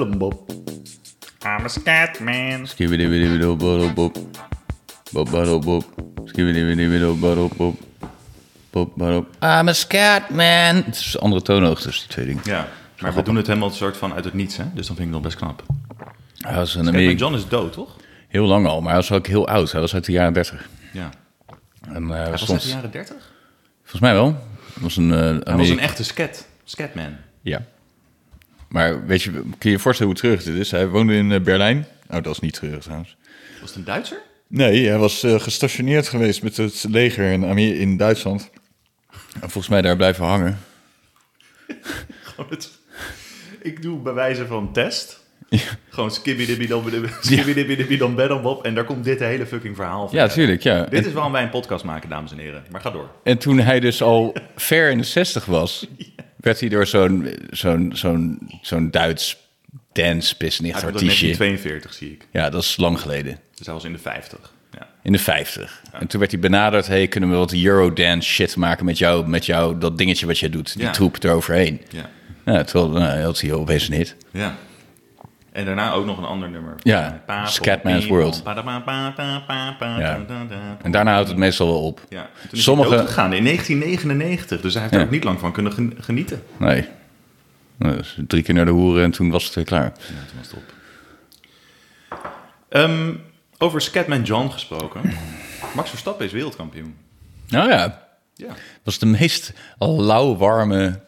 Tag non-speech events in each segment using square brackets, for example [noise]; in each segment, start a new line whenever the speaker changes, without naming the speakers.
I'm a scat man.
Skibidi-bidi-bido-bodo-bop. Bop-bado-bop. Skibidi-bidi-bido-bodo-bop. Bop-bado- I'm a scat man. Het is andere toonhoogtes, die twee dingen.
Ja, maar we doen het helemaal soort van uit het niets, hè? Dus dan vind ik het wel best knap.
Hij was in
Kijk,
Amerika
John is dood, toch?
heel lang al, maar hij was ook heel oud. Hij was uit de jaren 30.
Ja.
En, eh,
Hij was uit
soms-
de jaren 30?
Volgens mij wel. Het was een, eh
Hij was
Ameri-
een echte scat. Scatman.
Ja. Maar weet je, kun je je voorstellen hoe treurig dit is? Hij woonde in eh, Berlijn. Oh, dat is niet treurig trouwens.
Was het een Duitser?
Nee, hij was eh, gestationeerd geweest met het leger in, Amer- in Duitsland. En volgens mij daar blijven hangen.
Gewoon het- Ik doe bij wijze van test.
Ja.
Gewoon skibbidibbidambedambop. En daar komt dit hele fucking verhaal van.
Ja, tuurlijk, ja.
Dit
En,
is waarom wij een podcast maken, dames en heren. Maar ga door.
en toen hij dus al ver in de zestig
[laughs]
was, werd hij door zo'n zo'n zo'n zo'n Duits dance business
Hij komt net in
artiestje.
42, zie ik.
Ja, dat is lang geleden.
Dus hij was in de 50. Ja.
In de 50. En toen werd hij benaderd: hey, kunnen we wat Eurodance shit maken met jou, met jou dat dingetje wat jij doet, die
Ja.
troep eroverheen.
Ja.
Ja, terwijl nou, had hij opeens een hit.
Ja. En daarna ook nog een ander nummer. Eh,
Ja,
Pa-
Scatman's
pom- pom-
World.
pa- da- pa- pa- pa- pa- pa-
Ja.
da- da- da-
En daarna houdt het meestal wel op.
Ja, en toen is Sommige... hij
Sommige.
doodgegaan in 1999. Dus hij heeft
Ja.
er ook niet lang van kunnen gen- genieten.
Nee. Nou, dus Drie keer naar de hoeren en toen was het weer klaar.
Ja, toen was het op. Ehm, over Scatman John [clears throat] gesproken. Max Verstappen is wereldkampioen.
Nou ja,
Ja.
het was de meest lauwwarme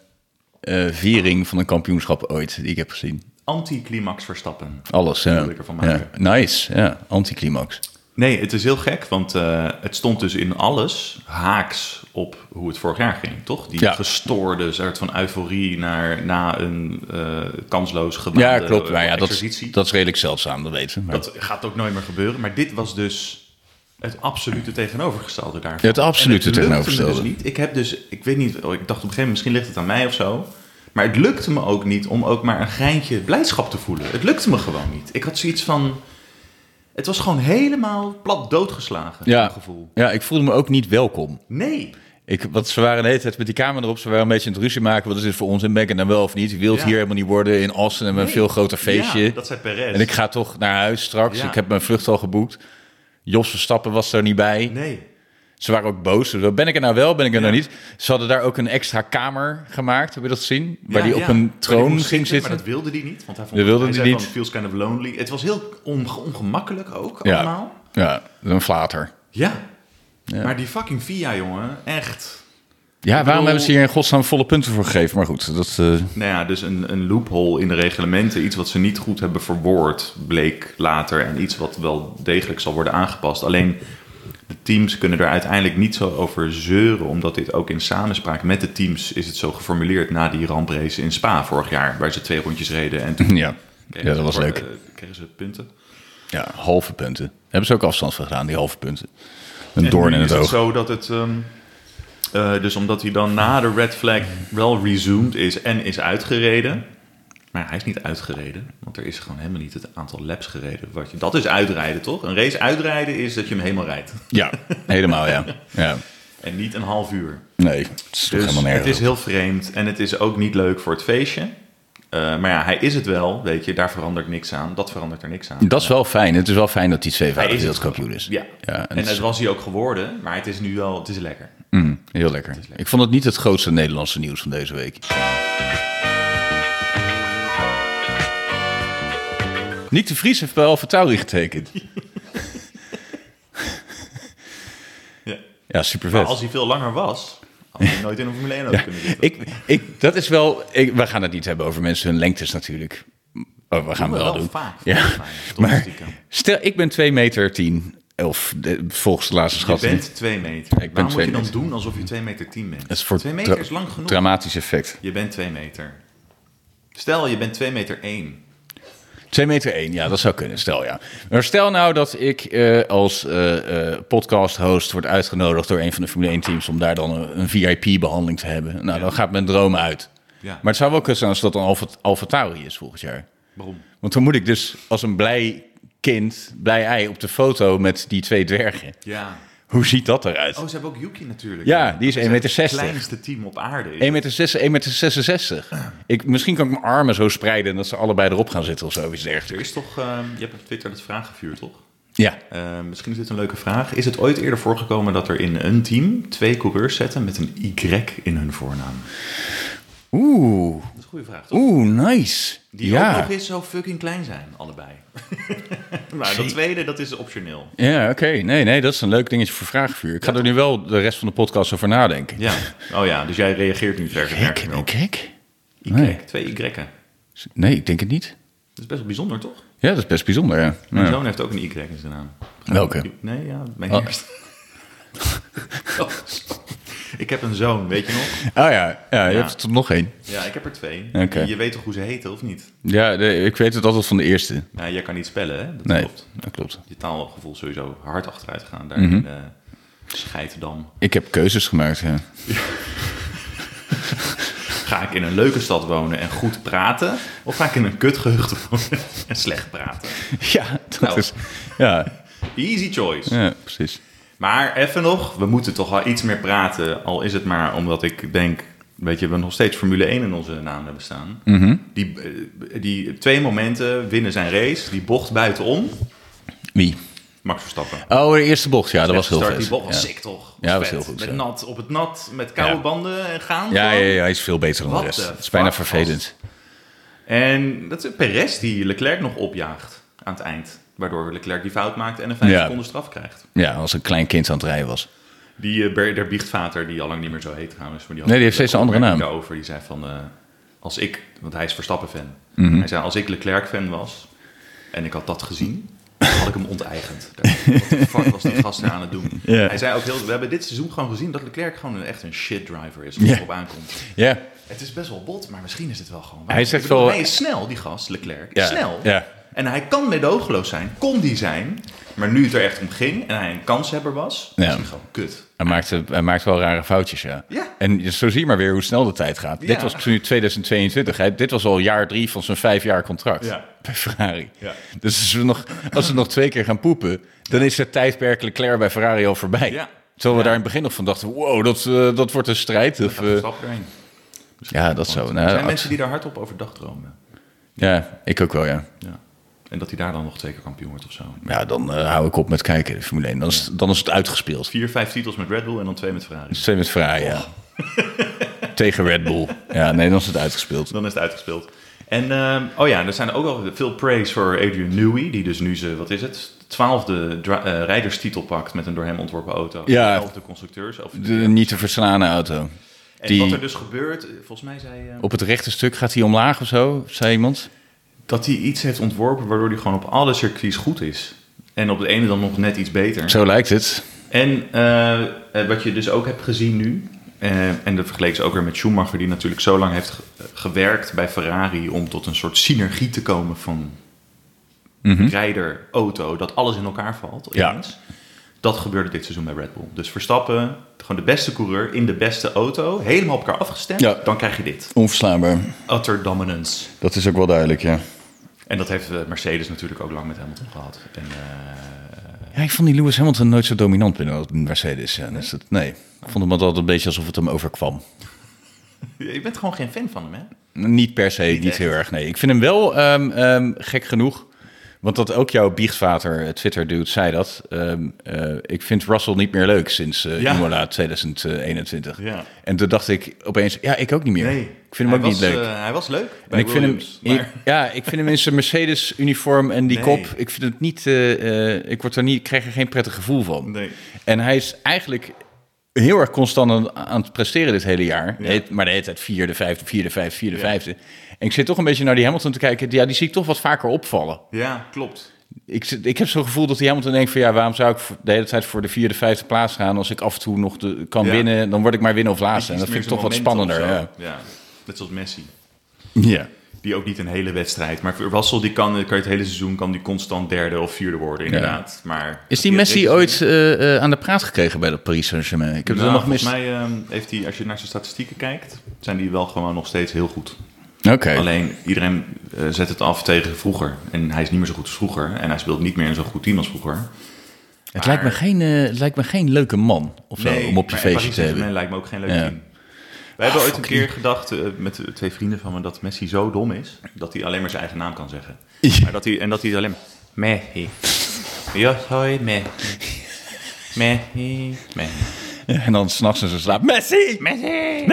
eh, viering van een kampioenschap ooit die ik heb gezien.
Anticlimax Verstappen.
Alles. Ja.
wil ik ervan
Ja.
maken.
Nice. Ja. Anticlimax.
Nee, het is heel gek, want eh, het stond dus in alles haaks op hoe het vorig jaar ging, toch? Die
Ja.
gestoorde soort van euforie naar na een eh, kansloos gewaande
ja, klopt.
eh,
Maar ja, dat,
exercitie.
is- dat is redelijk zeldzaam, dat weten we. Maar
Dat gaat ook nooit meer gebeuren. Maar dit was dus het absolute tegenovergestelde daarvan.
Het absolute
En lukte me
tegenovergestelde.
Dus niet. Ik heb dus, ik weet niet, oh, ik dacht op een gegeven moment, misschien ligt het aan mij of zo. Maar het lukte me ook niet om ook maar een geintje blijdschap te voelen. Het lukte me gewoon niet. Ik had zoiets van. Het was gewoon helemaal plat doodgeslagen.
ja,
dat gevoel.
ja, ik voelde me ook niet welkom.
Nee.
Ik, want ze waren de hele tijd met die camera erop. Ze waren een beetje aan het ruzie maken. Wat is dit voor ons? En ben ik het nou wel of niet? Ik wil het
Ja.
hier helemaal niet worden. In Assen hebben we een
Nee.
veel groter feestje.
Ja, dat zei Perez.
En ik ga toch naar huis straks.
Ja.
Ik heb mijn vlucht al geboekt. Jos Verstappen was er niet bij.
Nee.
Ze waren ook boos. Zo, Ben ik er nou wel, ben ik er
Ja.
nou niet? Ze hadden daar ook een extra kamer gemaakt. Heb je dat gezien? Waar
Ja,
die op
ja. Waar
een
die
troon
moest
ging zitten.
Maar dat wilde die niet. Want hij vond
Dat wilde
hij
die
zei
niet.
van, feels kind of lonely. Het was heel onge- ongemakkelijk ook
ja.
allemaal.
ja, een flater.
Ja. Maar die fucking VIA, jongen, echt.
Ja, waarom
bedoel-
hebben ze hier in godsnaam volle punten voor gegeven? Maar goed, dat... eh, [laughs]
Nou ja, dus een, een loophole in de reglementen. Iets wat ze niet goed hebben verwoord, bleek later. En iets wat wel degelijk zal worden aangepast. Alleen de teams kunnen er uiteindelijk niet zo over zeuren. Omdat dit ook in samenspraak met de teams is het zo geformuleerd na die ramprace in Spa vorig jaar. Waar ze twee rondjes reden en toen
ja. [laughs] ja, dat was leuk.
eh, kregen ze punten.
Ja, halve punten. Daar hebben ze ook afstand van gedaan, die halve punten. Een
En
doorn
nu
in
[laughs]
het
is
oog.
zo dat het. ehm, eh, dus omdat hij dan na de red flag wel resumed is en is uitgereden. Maar hij is niet uitgereden, want er is gewoon helemaal niet het aantal laps gereden. Wat je, dat is uitrijden, toch? Een race uitrijden is dat je hem helemaal rijdt.
Ja, helemaal ja. ja.
En niet een half uur.
Nee, het is
Dus
toch helemaal
het
nergens.
is
op.
heel vreemd en het is ook niet leuk voor het feestje. Eh, maar ja, hij is het wel, weet je. Daar verandert niks aan. Dat verandert er niks aan.
Dat is wel fijn. Het is wel fijn dat die
Hij
tweevoudig
is het
wereldkampioen is.
Ja.
ja en
en
het
dat
is
was hij ook geworden, maar het is nu wel, het is lekker.
mm, heel lekker. Ik vond het niet het grootste Nederlandse nieuws van deze week. Nick de Vries heeft bij Alfa Tauri getekend.
Ja.
Ja, super
Maar
vet.
als hij veel langer was, had hij nooit in een Formule
[laughs]
1 auto kunnen zitten.
Ik, ik, dat is wel. Ik, we gaan het niet hebben over mensen hun lengtes natuurlijk. Oh, we gaan
we
wel,
wel
doen.
vaak,
ja.
volgens mij, toch,
maar
stiekem.
stel, ik ben 2 meter 10. Of de- volgens de laatste
Je
schatting.
bent 2 meter.
ben
Waarom moet
twee
je dan
meter.
doen alsof je 2 meter 10 bent?
Dat is voor
2 meter
dra-
is lang genoeg.
Dramatisch effect.
Je bent 2 meter. Stel, je bent 2 meter 1.
2 meter 1, ja, dat zou kunnen, stel ja. Maar stel nou dat ik eh, als eh, eh, podcast-host word uitgenodigd door een van de Formule 1-teams om daar dan een, VIP-behandeling te hebben. Nou, dan gaat mijn droom uit.
Ja.
Maar het zou wel kunnen zijn als dat een Alfa, Alfa Tauri is volgend jaar.
Waarom?
Want dan moet ik dus als een blij kind, blij ei, op de foto met die twee dwergen.
Ja.
Hoe ziet dat eruit?
Oh, ze hebben ook Yuki natuurlijk.
Ja, die is
Ze
1,60 meter.
Het kleinste team op aarde. is.
1,66 meter. 66. Ik, misschien kan ik mijn armen zo spreiden en dat ze allebei erop gaan zitten of zo, iets
Er
dergelijks.
is toch, ehm, je hebt op Twitter dat vraagvuur, toch?
Ja.
Eh, misschien is dit een leuke vraag. Is het ooit eerder voorgekomen dat er in een team twee coureurs zetten met een Y in hun voornaam?
Oeh,
Dat is een goede vraag, toch?
oeh, nice.
Die ook
ja.
nog eens zo fucking klein zijn, allebei. [laughs] maar dat tweede, dat is optioneel.
Ja, oké. Nee, nee, dat is een leuk dingetje voor vraagvuur. Ik ga er nu wel de rest van de podcast over nadenken.
Ja. Oh ja, dus jij reageert nu verder.
Kijk,
Merk ik wel.
kijk. Nee.
Twee Y'en.
nee, ik denk het niet.
Dat is best wel bijzonder, toch?
Ja, dat is best bijzonder, ja.
Mijn
Ja.
zoon heeft ook een Y in zijn naam.
Welke?
Nee, ja, mijn
Oh.
eerste. [laughs] Oh, ik heb een zoon, weet je nog?
Ah ja, ja je
Ja.
hebt er nog één.
Ja, ik heb er twee.
Oké.
Je weet toch hoe ze heten, of niet?
Ja, nee, ik weet het altijd van de eerste.
Nou, jij kan niet spellen, hè? Dat
Nee,
klopt.
dat klopt.
Je taalgevoel sowieso hard achteruit gaan
Mhm.
daar in eh Scheidendam.
Ik heb keuzes gemaakt,
[laughs]
ja.
Ga ik in een leuke stad wonen en goed praten? Of ga ik in een kutgehucht wonen en slecht praten?
Ja, dat
Nou.
is... Ja,
Easy choice.
ja, precies.
Maar even nog, we moeten toch wel iets meer praten. Al is het maar omdat ik denk, weet je, we nog steeds Formule 1 in onze naam hebben staan.
Mhm.
Die, eh, die twee momenten winnen zijn race, die bocht buitenom.
Wie?
Max Verstappen.
Oh, de eerste bocht, ja, dat was heel
Start, die
vet.
bocht was
ja.
sick toch?
Ja, dat was
vet.
heel goed,
Met
ja.
nat, op het nat, met koude
Ja.
banden en gaan.
Ja, ja,
gewoon.
ja, hij is veel beter dan de
What
rest.
the
Het is bijna
fuck
vervelend.
En dat is Perez die Leclerc nog opjaagt aan het eind. Waardoor Leclerc die fout maakt en een 5
Ja.
seconden straf krijgt.
Ja, als een klein kind aan het rijden was.
Die eh, Ber- der Biechtvater, die al lang niet meer zo heet trouwens. Maar die had
Nee, die heeft steeds een andere
opmerking
naam.
Daarover, die zei van, eh, als ik, want hij is Verstappen-fan.
Mhm.
Hij zei, als ik Leclerc-fan was en ik had dat gezien, dan had ik hem onteigend. Daar- Wat de fuck was die gast daar aan het doen?
Ja.
Hij zei ook heel, we hebben dit seizoen gewoon gezien dat Leclerc gewoon een, echt een shit-driver is. Als
Ja.
het op aankomt.
Ja,
Het is best wel bot, maar misschien is het wel gewoon waar.
Hij zegt
Ik bedoel,
wel-
Hij is snel, die gast, Leclerc.
Ja,
Snel.
ja.
En hij kan medogeloos zijn, kon die zijn. Maar nu het er echt om ging en hij een kanshebber was,
Ja.
is hij gewoon kut.
hij maakt, hij maakt wel rare foutjes, ja.
Ja.
En zo zie je maar weer hoe snel de tijd gaat.
Ja.
Dit was nu 2022. Hij, dit was al jaar drie van zijn vijf jaar contract
Ja.
bij Ferrari.
Ja.
Dus als we, nog, als we nog twee keer gaan poepen, dan is het tijdperk Leclerc bij Ferrari al voorbij.
Ja.
Terwijl we daar in het begin nog van dachten, wow, dat, eh, dat wordt een strijd. Of, eh,
Stap erin.
ja, dat zo.
Er
Nou,
zijn
ja,
mensen die daar hardop over dagdromen.
ja, ik ook wel, ja.
Ja. En dat hij daar dan nog twee keer kampioen wordt of zo.
Ja, dan eh, hou ik op met kijken, de Formule 1. Dan is, dan is het uitgespeeld.
Vier, vijf titels met Red Bull en dan twee met Ferrari.
Twee met Ferrari, ja.
Oh.
Tegen Red Bull. Ja, nee, dan is het uitgespeeld.
Dan is het uitgespeeld. En ehm, oh ja, er zijn ook al veel praise voor Adrian Newey. Die dus nu zijn, wat is het, twaalfde dra- eh, rijderstitel pakt met een door hem ontworpen auto.
Ja.
Elfde constructeurs. Of
De niet te verslaande auto.
En
Die-
wat er dus gebeurt, eh, volgens mij zei eh,
Op het rechte stuk gaat hij omlaag of zo, zei iemand.
dat hij iets heeft ontworpen waardoor hij gewoon op alle circuits goed is. En op de ene dan nog net iets beter.
Zo lijkt het.
En eh, eh, wat je dus ook hebt gezien nu, eh, en dat vergeleek ze ook weer met Schumacher, die natuurlijk zo lang heeft ge- gewerkt bij Ferrari om tot een soort synergie te komen van rijder, auto, dat alles in elkaar valt.
Mhm. Ja.
ineens. Dat gebeurde dit seizoen bij Red Bull. Dus Verstappen, gewoon de beste coureur in de beste auto, helemaal op elkaar afgestemd,
Ja.
dan krijg je dit.
Onverslaanbaar.
Utter dominance.
Dat is ook wel duidelijk, ja.
En dat heeft eh, Mercedes natuurlijk ook lang met Hamilton gehad. En, eh,
Ja, ik vond die Lewis Hamilton nooit zo dominant binnen als Mercedes. Ja, dus dat, nee, ik vond hem altijd een beetje alsof het hem overkwam.
eh, je bent gewoon geen fan van hem, hè?
Niet per se, niet,
echt.
heel erg, nee. Ik vind hem wel ehm, ehm, gek genoeg. Want dat ook jouw biechtvater, Twitter-dude, zei dat. Ehm, eh, ik vind Russell niet meer leuk sinds eh
Ja.
Imola 2021.
Ja.
En toen dacht ik opeens, ja, ik ook niet meer.
Nee.
Ik vind hem
Hij
ook niet
was,
leuk.
eh, hij was leuk.
En
bij
ik vind hem,
Williams,
ik-
maar-
[laughs] ja, ik vind hem in zijn Mercedes-uniform en die
Nee.
kop. Ik vind het niet, eh, eh, ik word er niet, ik krijg er geen prettig gevoel van.
Nee.
En hij is eigenlijk heel erg constant aan, aan het presteren dit hele jaar. De hele- maar de hele tijd vierde, vijfde, vierde, vijfde, vierde, vijfde. En ik zit toch een beetje naar die Hamilton te kijken. Ja, die zie ik toch wat vaker opvallen.
Ja, klopt.
Ik, zit- ik heb zo'n gevoel dat die Hamilton denkt van... ja, waarom zou ik voor- de hele tijd voor de vierde, vijfde plaats gaan... als ik af en toe nog de, kan
Ja.
winnen, dan word ik maar winnen of laatste. En
Iets
dat
meer
vind ik toch
zo'n
wat
momentum
spannender.
of
Ja.
zo. ja. Net zoals Messi.
ja.
Die ook niet een hele wedstrijd. Maar Russell, die kan, kan het hele seizoen kan die constant derde of vierde worden, inderdaad. Maar
Is die
Ja,
Messi
deze-
ooit eh, eh, aan de praat gekregen bij dat Paris Saint-Germain? Ik heb
Nou,
het nog mis.
volgens mij ehm, heeft hij, als je naar zijn statistieken kijkt, zijn die wel gewoon nog steeds heel goed.
Oké.
Alleen iedereen eh, zet het af tegen vroeger. En hij is niet meer zo goed als vroeger. En hij speelt niet meer in zo'n goed team als vroeger.
Het lijkt me, geen, eh, het lijkt me geen leuke man of zo, om op je
maar
feestje
Paris
te hebben.
Saint-Germain lijkt me ook geen leuk
Ja. Ah,
team. We hebben ooit een keer gedacht eh, met eh, twee vrienden van me dat Messi zo dom is dat hij alleen maar zijn eigen naam kan zeggen. Maar dat hij, en dat hij alleen maar. Messi. Ja, hoi, Messi. Messi. Messi.
[laughs] En dan s'nachts in zijn slaap. Messi!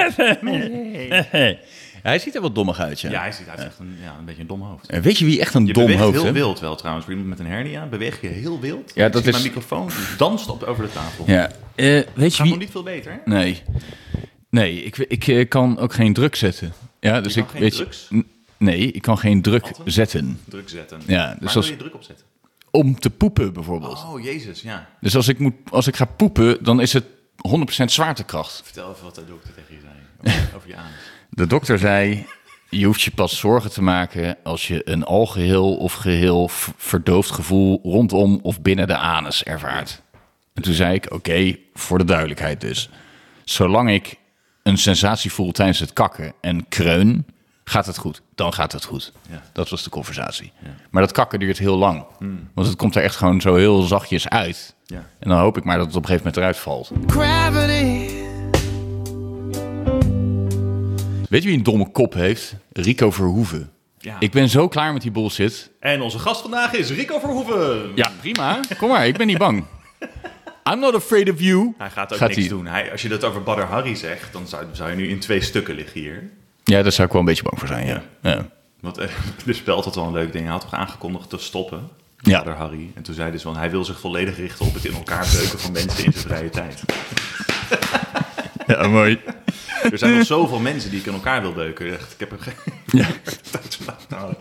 [laughs] Messi! Hij ziet er wel dommig uit, ja.
Ja, hij ziet hij heeft echt een, ja, een beetje een dom hoofd.
En Weet je wie echt een
Je
dom
beweegt
hoofd
heel
heeft?
wild wel trouwens. Voor iemand met een hernia beweeg je heel wild.
Ja,
Ik
dat
zie
is-
Mijn microfoon danst op over de tafel.
Ja. Eh, weet je
Gaat nog
wie...
niet veel beter. hè?
Nee. Nee, ik, ik eh, kan ook geen druk zetten. Ja, dus
kan
ik
geen
weet
drugs?
Je, N- nee, ik kan geen druk
Atten?
zetten.
Druk zetten.
Ja,
Waar
dus
wil
als-
je druk op zetten?
Om te poepen bijvoorbeeld.
Oh, jezus, ja.
Dus als ik, moet, als ik ga poepen, dan is het 100% zwaartekracht.
Vertel even wat de dokter tegen je
[laughs]
zei. Over- Over je anus.
De dokter zei, je hoeft je pas zorgen te maken als je een algeheel of geheel v- verdoofd gevoel rondom of binnen de anus ervaart. En toen zei ik, oké, voor de duidelijkheid dus. Zolang ik een sensatie voel tijdens het kakken en kreun, gaat het goed. Dan gaat het goed.
Ja.
Dat was de conversatie. Maar dat kakken duurt heel lang. Want het komt er echt gewoon zo heel zachtjes uit.
Ja.
En dan hoop ik maar dat het op een gegeven moment eruit valt.
Gravity.
Weet je wie een domme kop heeft? Rico Verhoeven.
Ja.
Ik ben zo klaar met die bullshit.
En onze gast vandaag is Rico Verhoeven.
Ja, prima. Kom maar, ik ben niet bang. I'm not afraid of you.
Hij gaat ook niks
hij-
doen. Hij, als je dat over Badr Harry zegt, dan zou, zou je nu in twee stukken liggen hier.
Ja, daar zou ik wel een beetje bang voor zijn, ja. Ja,
Want eh, [laughs] de spel had wel een leuk ding. Hij had toch aangekondigd te stoppen,
Ja.
Badr Harry. En toen zei hij dus, van, hij wil zich volledig richten op het in elkaar beuken van mensen in zijn vrije
[laughs]
tijd.
[laughs] ja mooi.
Er zijn nog zoveel mensen die ik in elkaar wil beuken. Echt, ik heb er geen
Ja.
[laughs] tijd voor laten houden.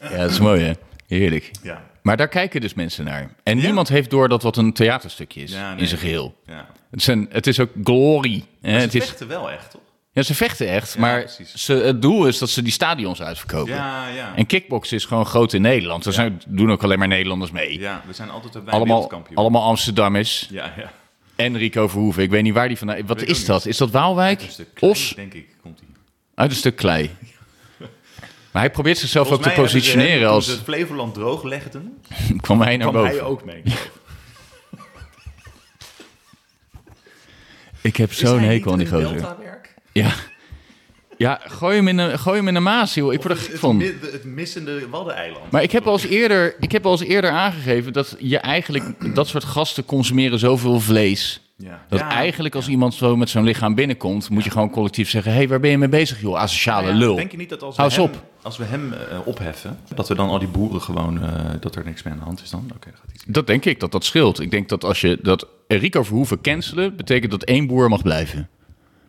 ja, dat is mooi, hè. Heerlijk.
nou, Ja.
Maar daar kijken dus mensen naar. En niemand heeft door dat wat een theaterstukje is,
Ja, nee.
in zijn geheel.
Ja.
Het, zijn, het is ook glory. hè.
Ze
Het is,
vechten wel echt, toch?
ja, ze vechten echt, maar
precies.
ze, het doel is dat ze die stadions uitverkopen.
Ja, ja.
En kickboksen is gewoon groot in Nederland. Er zijn, doen ook alleen maar Nederlanders mee.
Ja, we zijn altijd erbij
allemaal,
wereldkampioen.
allemaal Amsterdammers.
Ja, ja.
En Rico Verhoeven. Ik weet niet waar die vandaan... Wat
Weet ik
is
ook
dat? Is dat Waalwijk?
Een stuk klein,
Os?
denk ik, komt hij.
Uit een stuk
[laughs]
klei. Maar hij probeert zichzelf ook te
Volgens mij hebben ze-
positioneren
toen
als...
ze het Flevoland droog legden,
[laughs] kwam hij naar
kwam
boven.
hij ook mee.
Oh, Ik heb zo'n hekel aan die gozer.
Deltawerk?
Ja. ja, gooi hem in een, gooi hem in een maas, joh. Ik word er gek
Het,
van.
mi- het missende Waddeneiland.
Maar ik heb, al eens eerder, ik heb al eens eerder aangegeven dat je eigenlijk... Dat soort gasten consumeren zoveel vlees...
ja.
Dat
Ja,
eigenlijk als iemand zo met zo'n lichaam binnenkomt... moet je gewoon collectief zeggen... hé, hey, waar ben je mee bezig, joh? Asociale
ja,
lul.
Denk je niet dat als we
Hou eens
hem,
op.
Als we hem eh, opheffen, dat we dan al die boeren gewoon, eh, dat er niks meer aan de hand is dan? Oké, dat gaat iets.
Dat denk ik, dat dat scheelt. Ik denk dat als je dat Rico Verhoeven cancelen, betekent dat één boer mag blijven.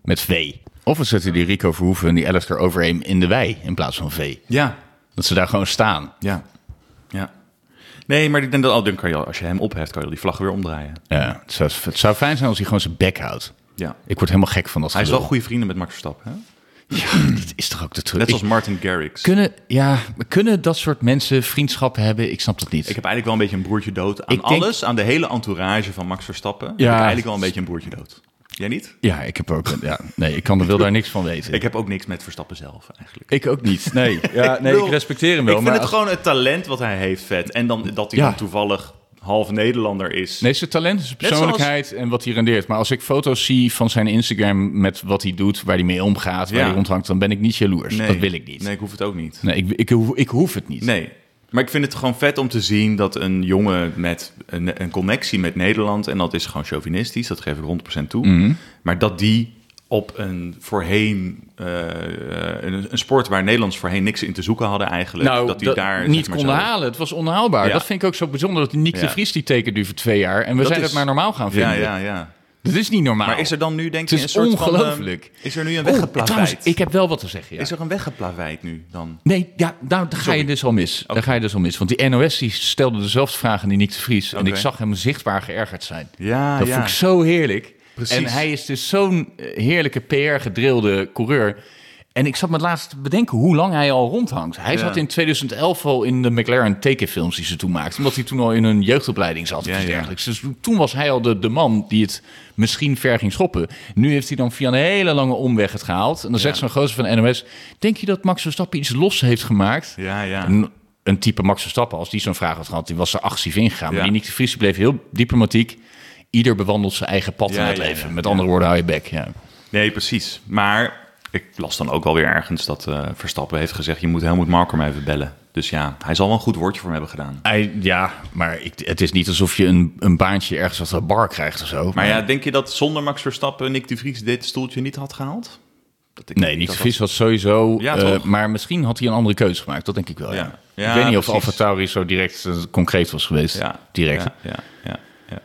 Met V. Of we zetten die Rico Verhoeven en die Alistair Overeem in de wei in plaats van V.
Ja,
Dat ze daar gewoon staan.
ja, ja. Nee, maar ik denk dat al- dan kan je, al- als je hem opheft, kan je al die vlag weer omdraaien.
Ja, het zou, het zou fijn zijn als hij gewoon zijn bek houdt.
Ja.
Ik word helemaal gek van dat
Hij is wel
gelul.
goede vrienden met Max Verstappen. Hè?
Dat is toch ook de truc?
Net
Ik-
als Martin Garrix.
kunnen, ja, maar kunnen dat soort mensen vriendschappen hebben? Ik snap dat niet.
Ik heb eigenlijk wel een beetje een broertje dood aan
Ik denk-
alles, aan de hele entourage van Max Verstappen. Ja. Ik
Ja.
heb eigenlijk wel een beetje een broertje dood. Jij niet?
ja, ik heb ook... Ja, nee, ik kan er wel daar niks van weten.
Ik heb ook niks met Verstappen zelf eigenlijk.
Ik ook niet. Nee, [laughs] ja, nee
bedoel,
ik respecteer hem wel.
Ik vind
maar
het
als-
gewoon het talent wat hij heeft vet. En dan dat hij
Ja.
dan toevallig half Nederlander is.
Nee, zijn talent, zijn
zoals-
persoonlijkheid en wat hij rendeert. Maar als ik foto's zie van zijn Instagram met wat hij doet, waar hij mee omgaat, waar
Ja.
hij rondhangt, dan ben ik niet jaloers.
Nee.
Dat wil ik niet. Nee,
Nee, ik hoef het ook niet.
ik, ik, hoef, ik hoef het niet.
Nee. Maar ik vind het gewoon vet om te zien dat een jongen met een, een connectie met Nederland, en dat is gewoon chauvinistisch, dat geef ik 100% toe,
Mhm.
maar dat die op een voorheen, eh, een, een sport waar Nederlands voorheen niks in te zoeken hadden eigenlijk,
Nou,
dat die
dat
daar
niet
kon
konden halen. Het was onhaalbaar.
Ja.
Dat vind ik ook zo bijzonder dat Nick
Ja.
de Vries die tekent nu voor twee jaar. En we zijn
is-
het maar normaal gaan
Ja,
vinden.
ja, ja.
Dat is niet normaal.
Maar is er dan nu, denk je,
Het
een
is
soort van...
ongelooflijk.
eh, is er nu een
Oh, trouwens,
weggeplaveid?
ik heb wel wat te zeggen. Ja.
Is er een weggeplaveid nu dan?
Nee, ja, nou, daar ga je dus al mis. Daar ga je dus al mis. Want die NOS die stelde dezelfde vragen die Nick de Vries. En
Oké.
ik zag hem zichtbaar geërgerd zijn.
Ja,
dat
Ah, ja.
vond ik zo heerlijk.
Precies.
En hij is dus zo'n eh, heerlijke PR-gedrilde coureur. En ik zat me laatst te bedenken hoe lang hij al rondhangt. Hij
Ja.
zat in 2011 al in de McLaren tekenfilms die ze toen maakten. Omdat hij toen al in een jeugdopleiding zat of
Ja,
iets
ja.
dergelijks. Dus toen was hij al de, de man die het misschien ver ging schoppen. Nu heeft hij dan via een hele lange omweg het gehaald. En dan zegt zo'n gozer van NOS... Denk je dat Max Verstappen iets los heeft gemaakt?
Ja, ja.
Een, een type Max Verstappen, als die zo'n vraag had gehad... die was er actief ingegaan.
Ja.
Maar die Nick de Vries die bleef heel diplomatiek. Ieder bewandelt zijn eigen pad
Ja,
in het
ja,
leven.
ja.
Met andere woorden, hou je bek. Ja.
Nee, precies. Maar ik las dan ook wel weer ergens dat eh, Verstappen heeft gezegd... je moet Helmoet Marko maar even bellen. Dus ja, hij zal wel een goed woordje voor hem hebben gedaan.
Hij- ja, maar ik, het is niet alsof je een, een baantje ergens als een bar krijgt of zo.
Maar ja, denk je dat zonder Max Verstappen Nick de Vries dit stoeltje niet had gehaald? Dat denk ik
Nee, niet
dat
de Vries was sowieso.
Ja,
eh,
toch?
maar misschien had hij een andere keuze gemaakt. Dat denk ik wel. Ja.
Ja. Ja,
ik weet niet of
precies.
Alfa Tauri zo direct eh, concreet was geweest.
dat- Ja,
direct.
Ja, ja, ja, ja.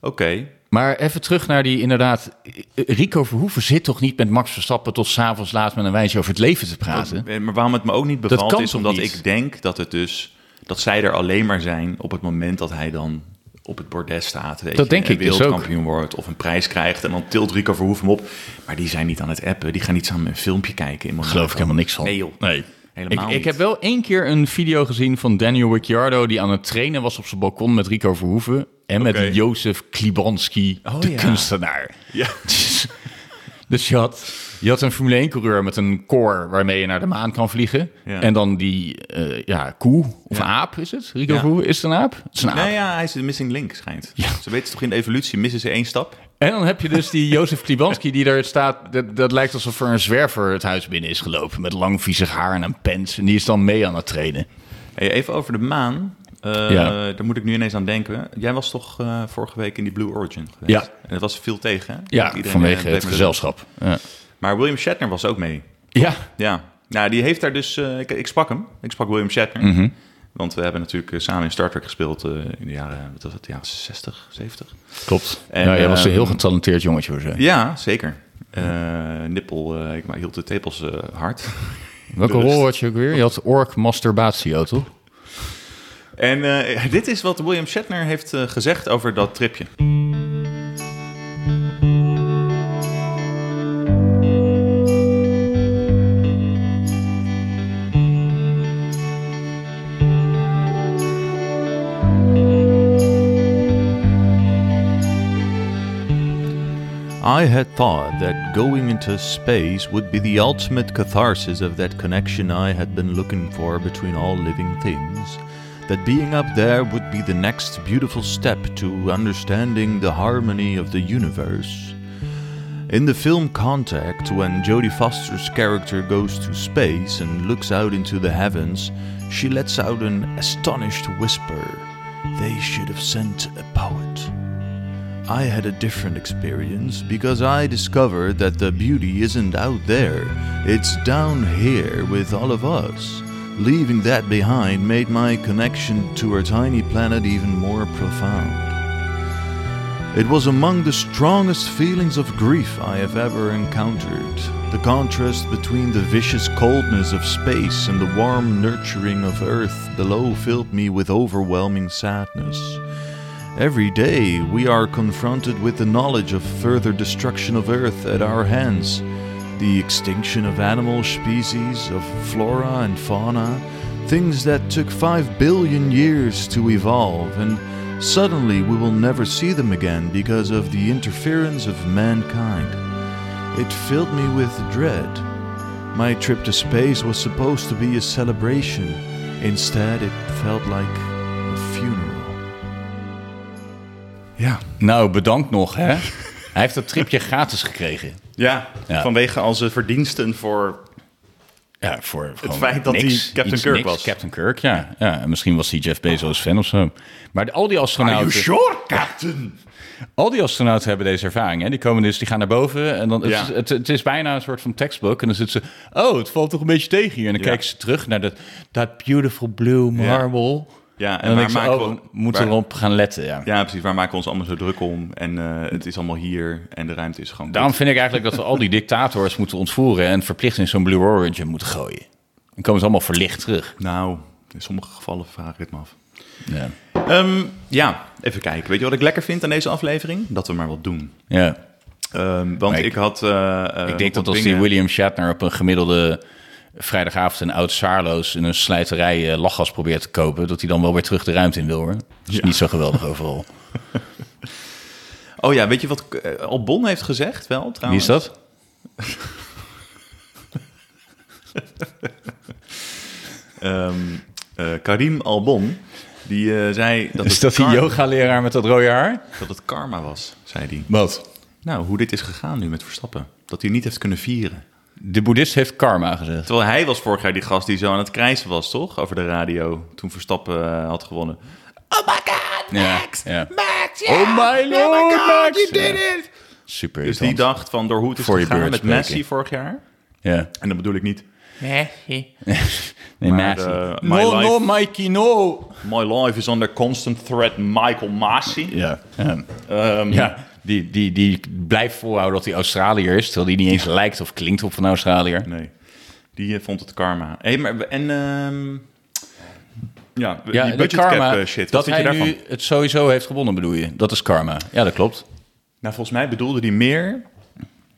Oké.
Maar even terug naar die inderdaad. eh, Rico Verhoeven zit toch niet met Max Verstappen tot s'avonds laat met een wijntje over het leven te praten?
Eh, Maar waarom het me ook niet
kan
bevalt is
toch
omdat
niet?
ik denk dat het dus dat zij er alleen maar zijn op het moment dat hij dan op het bordes staat. Weet
Dat
je,
denk
en
ik dus ook.
wereldkampioen wordt of een prijs krijgt en dan tilt Rico Verhoeven hem op. Maar die zijn niet aan het appen, die gaan niet samen een filmpje kijken. In Monaco.
Geloof ik helemaal niks van.
Nee joh.
Nee.
Helemaal
ik,
niet.
ik heb wel één keer een video gezien van Daniel Ricciardo... die aan het trainen was op zijn balkon met Rico Verhoeven... en
Oké.
met Jozef Klibanski,
Oh,
de
ja.
kunstenaar.
Ja.
[laughs] Dus, dus je, had, je had een Formule 1-coureur met een core waarmee je naar de maan kan vliegen.
Ja.
En dan die eh, ja, koe of
Ja.
aap is het? Rico
Ja.
Verhoeven, is het een aap? Het is een aap.
Nou ja, hij is de missing link schijnt. Ze weten toch in de evolutie missen ze één stap.
En dan heb je dus
[laughs]
die Jozef Klibanski die daar staat. Dat, dat lijkt alsof er een zwerver het huis binnen is gelopen. Met lang viezig haar en een pens. En die is dan mee aan het trainen.
Hey, even over de maan. Eh,
Ja.
Daar moet ik nu ineens aan denken. Jij was toch eh, vorige week in die Blue Origin geweest?
Ja.
En dat was veel tegen, hè?
Ja,
Iedereen, eh,
vanwege
bleef
het
maar-
gezelschap. Ja.
Maar William Shatner was ook mee.
ja.
Ja, nou, die heeft daar dus. eh, ik, ik sprak hem. Ik sprak William Shatner. Want we hebben natuurlijk eh, samen in Star Trek gespeeld eh, in de jaren, wat was het, jaren 60, 70.
Klopt.
En,
nou, jij was een
ehm,
heel getalenteerd jongetje. Hoor. zeg.
Ja, zeker. Eh, nippel, eh, ik ma- hield de tepels eh, hard. [laughs]
Welke
rust.
rol had je ook weer? Je had ork masturbatio, toch?
En eh, dit is wat William Shatner heeft eh, gezegd over dat tripje. I had thought that going into space would be the ultimate catharsis of that connection I had been looking for between all living things. That being up there would be the next beautiful step to understanding the harmony of the universe. In the film Contact, when Jodie Foster's character goes to space and looks out into the heavens, she lets out an astonished whisper They should have sent a poet. I had a different experience because I discovered that the beauty isn't out there, it's down here with all of us. Leaving that behind made my connection to our tiny planet even more profound. It was among the strongest feelings of grief I have ever encountered. The contrast between the vicious coldness of space and the warm nurturing of Earth below filled me with overwhelming sadness. Every day we are confronted with the knowledge of further destruction of Earth at our hands, the extinction of animal species, of flora and fauna, things that took 5 billion years to evolve, and suddenly we will never see them again because of the interference of mankind. It filled me with dread. My trip to space was supposed to be a celebration, instead, it felt like a funeral. Ja.
Nou, bedankt nog, [laughs] hè? Hij heeft dat tripje gratis gekregen.
Ja,
Ja.
vanwege al zijn verdiensten voor...
Ja, voor het
feit dat hij Captain Kirk was.
Captain Kirk, ja. ja. En misschien was hij Jeff Bezos fan of zo. Maar al die astronauten...
Captain?
Al die astronauten hebben deze ervaring. Hè? Die komen dus, die gaan naar boven. En dan, het,
Ja.
is, het, het is bijna een soort van tekstboek. En dan zitten ze, oh, het valt toch een beetje tegen hier. En dan
Ja.
kijken ze terug naar dat, dat beautiful blue marble.
Ja, en
en, dan
waar
denken ze,
maken
oh,
we-
we moeten
waar-
erop gaan letten. Ja.
Ja, precies. Waar maken we ons allemaal zo druk om? En eh, het is allemaal hier en de ruimte is gewoon...
Daarom vind ik eigenlijk dat we al die dictators moeten ontvoeren... en verplicht in zo'n Blue Origin moeten gooien. Dan komen ze allemaal verlicht terug.
Oh,
Nou, in sommige gevallen vraag ik het me af.
Ja.
Ehm, ja, even kijken. Weet je wat ik lekker vind aan deze aflevering? Dat we maar wat doen.
ja.
Ehm, want
ik-
ik, had... eh, eh,
Ik denk
wat
dat als die
dingen-
William Shatner op een gemiddelde vrijdagavond een oud Saarloos in een slijterij eh, lachgas probeert te kopen, dat hij dan wel weer terug de ruimte in wil hoor. Dat is niet zo geweldig overal.
Oh ja, weet je wat eh, Albon heeft gezegd wel
[laughs]
trouwens?
Wie is dat?
Ehm, eh, Karim Albon, die eh,
[laughs]
zei dat
Is
het
dat die
kar-
yoga-leraar met dat rode haar?
dat het karma was, zei hij.
Wat?
Nou, hoe dit is gegaan nu met Verstappen. Dat hij niet heeft kunnen vieren.
De boeddhist heeft karma gezegd.
Terwijl hij was vorig jaar die gast die zo aan het krijsen was, toch? Over de radio, toen Verstappen eh, had gewonnen. Oh my god,
Ja,
Max!
ja.
Max, ja!
Oh my lord, Max!
you did
Ja.
it!
Super
Dus die
irritant.
dacht van door hoe het is
Voor je
gegaan
beurt
met
spreken.
Messi vorig jaar.
Ja.
En dan bedoel ik niet
Nee,
Maar,
Messi.
eh, my life-
Mikey, no!
My life is under constant threat, Michael Masi.
Ja. Ja. ja. Die, die, die blijft volhouden dat hij Australiër is, terwijl die niet eens lijkt of klinkt op van Australiër.
Nee, die eh, vond het karma. Hey, maar, we- en ehm, ja,
Ja,
die
de
budget
karma,
cap eh, shit, wat
dat
vind
hij
je daarvan?
nu het sowieso heeft gewonnen bedoel je? Dat is karma. Ja, dat klopt.
Nou, volgens mij bedoelde die meer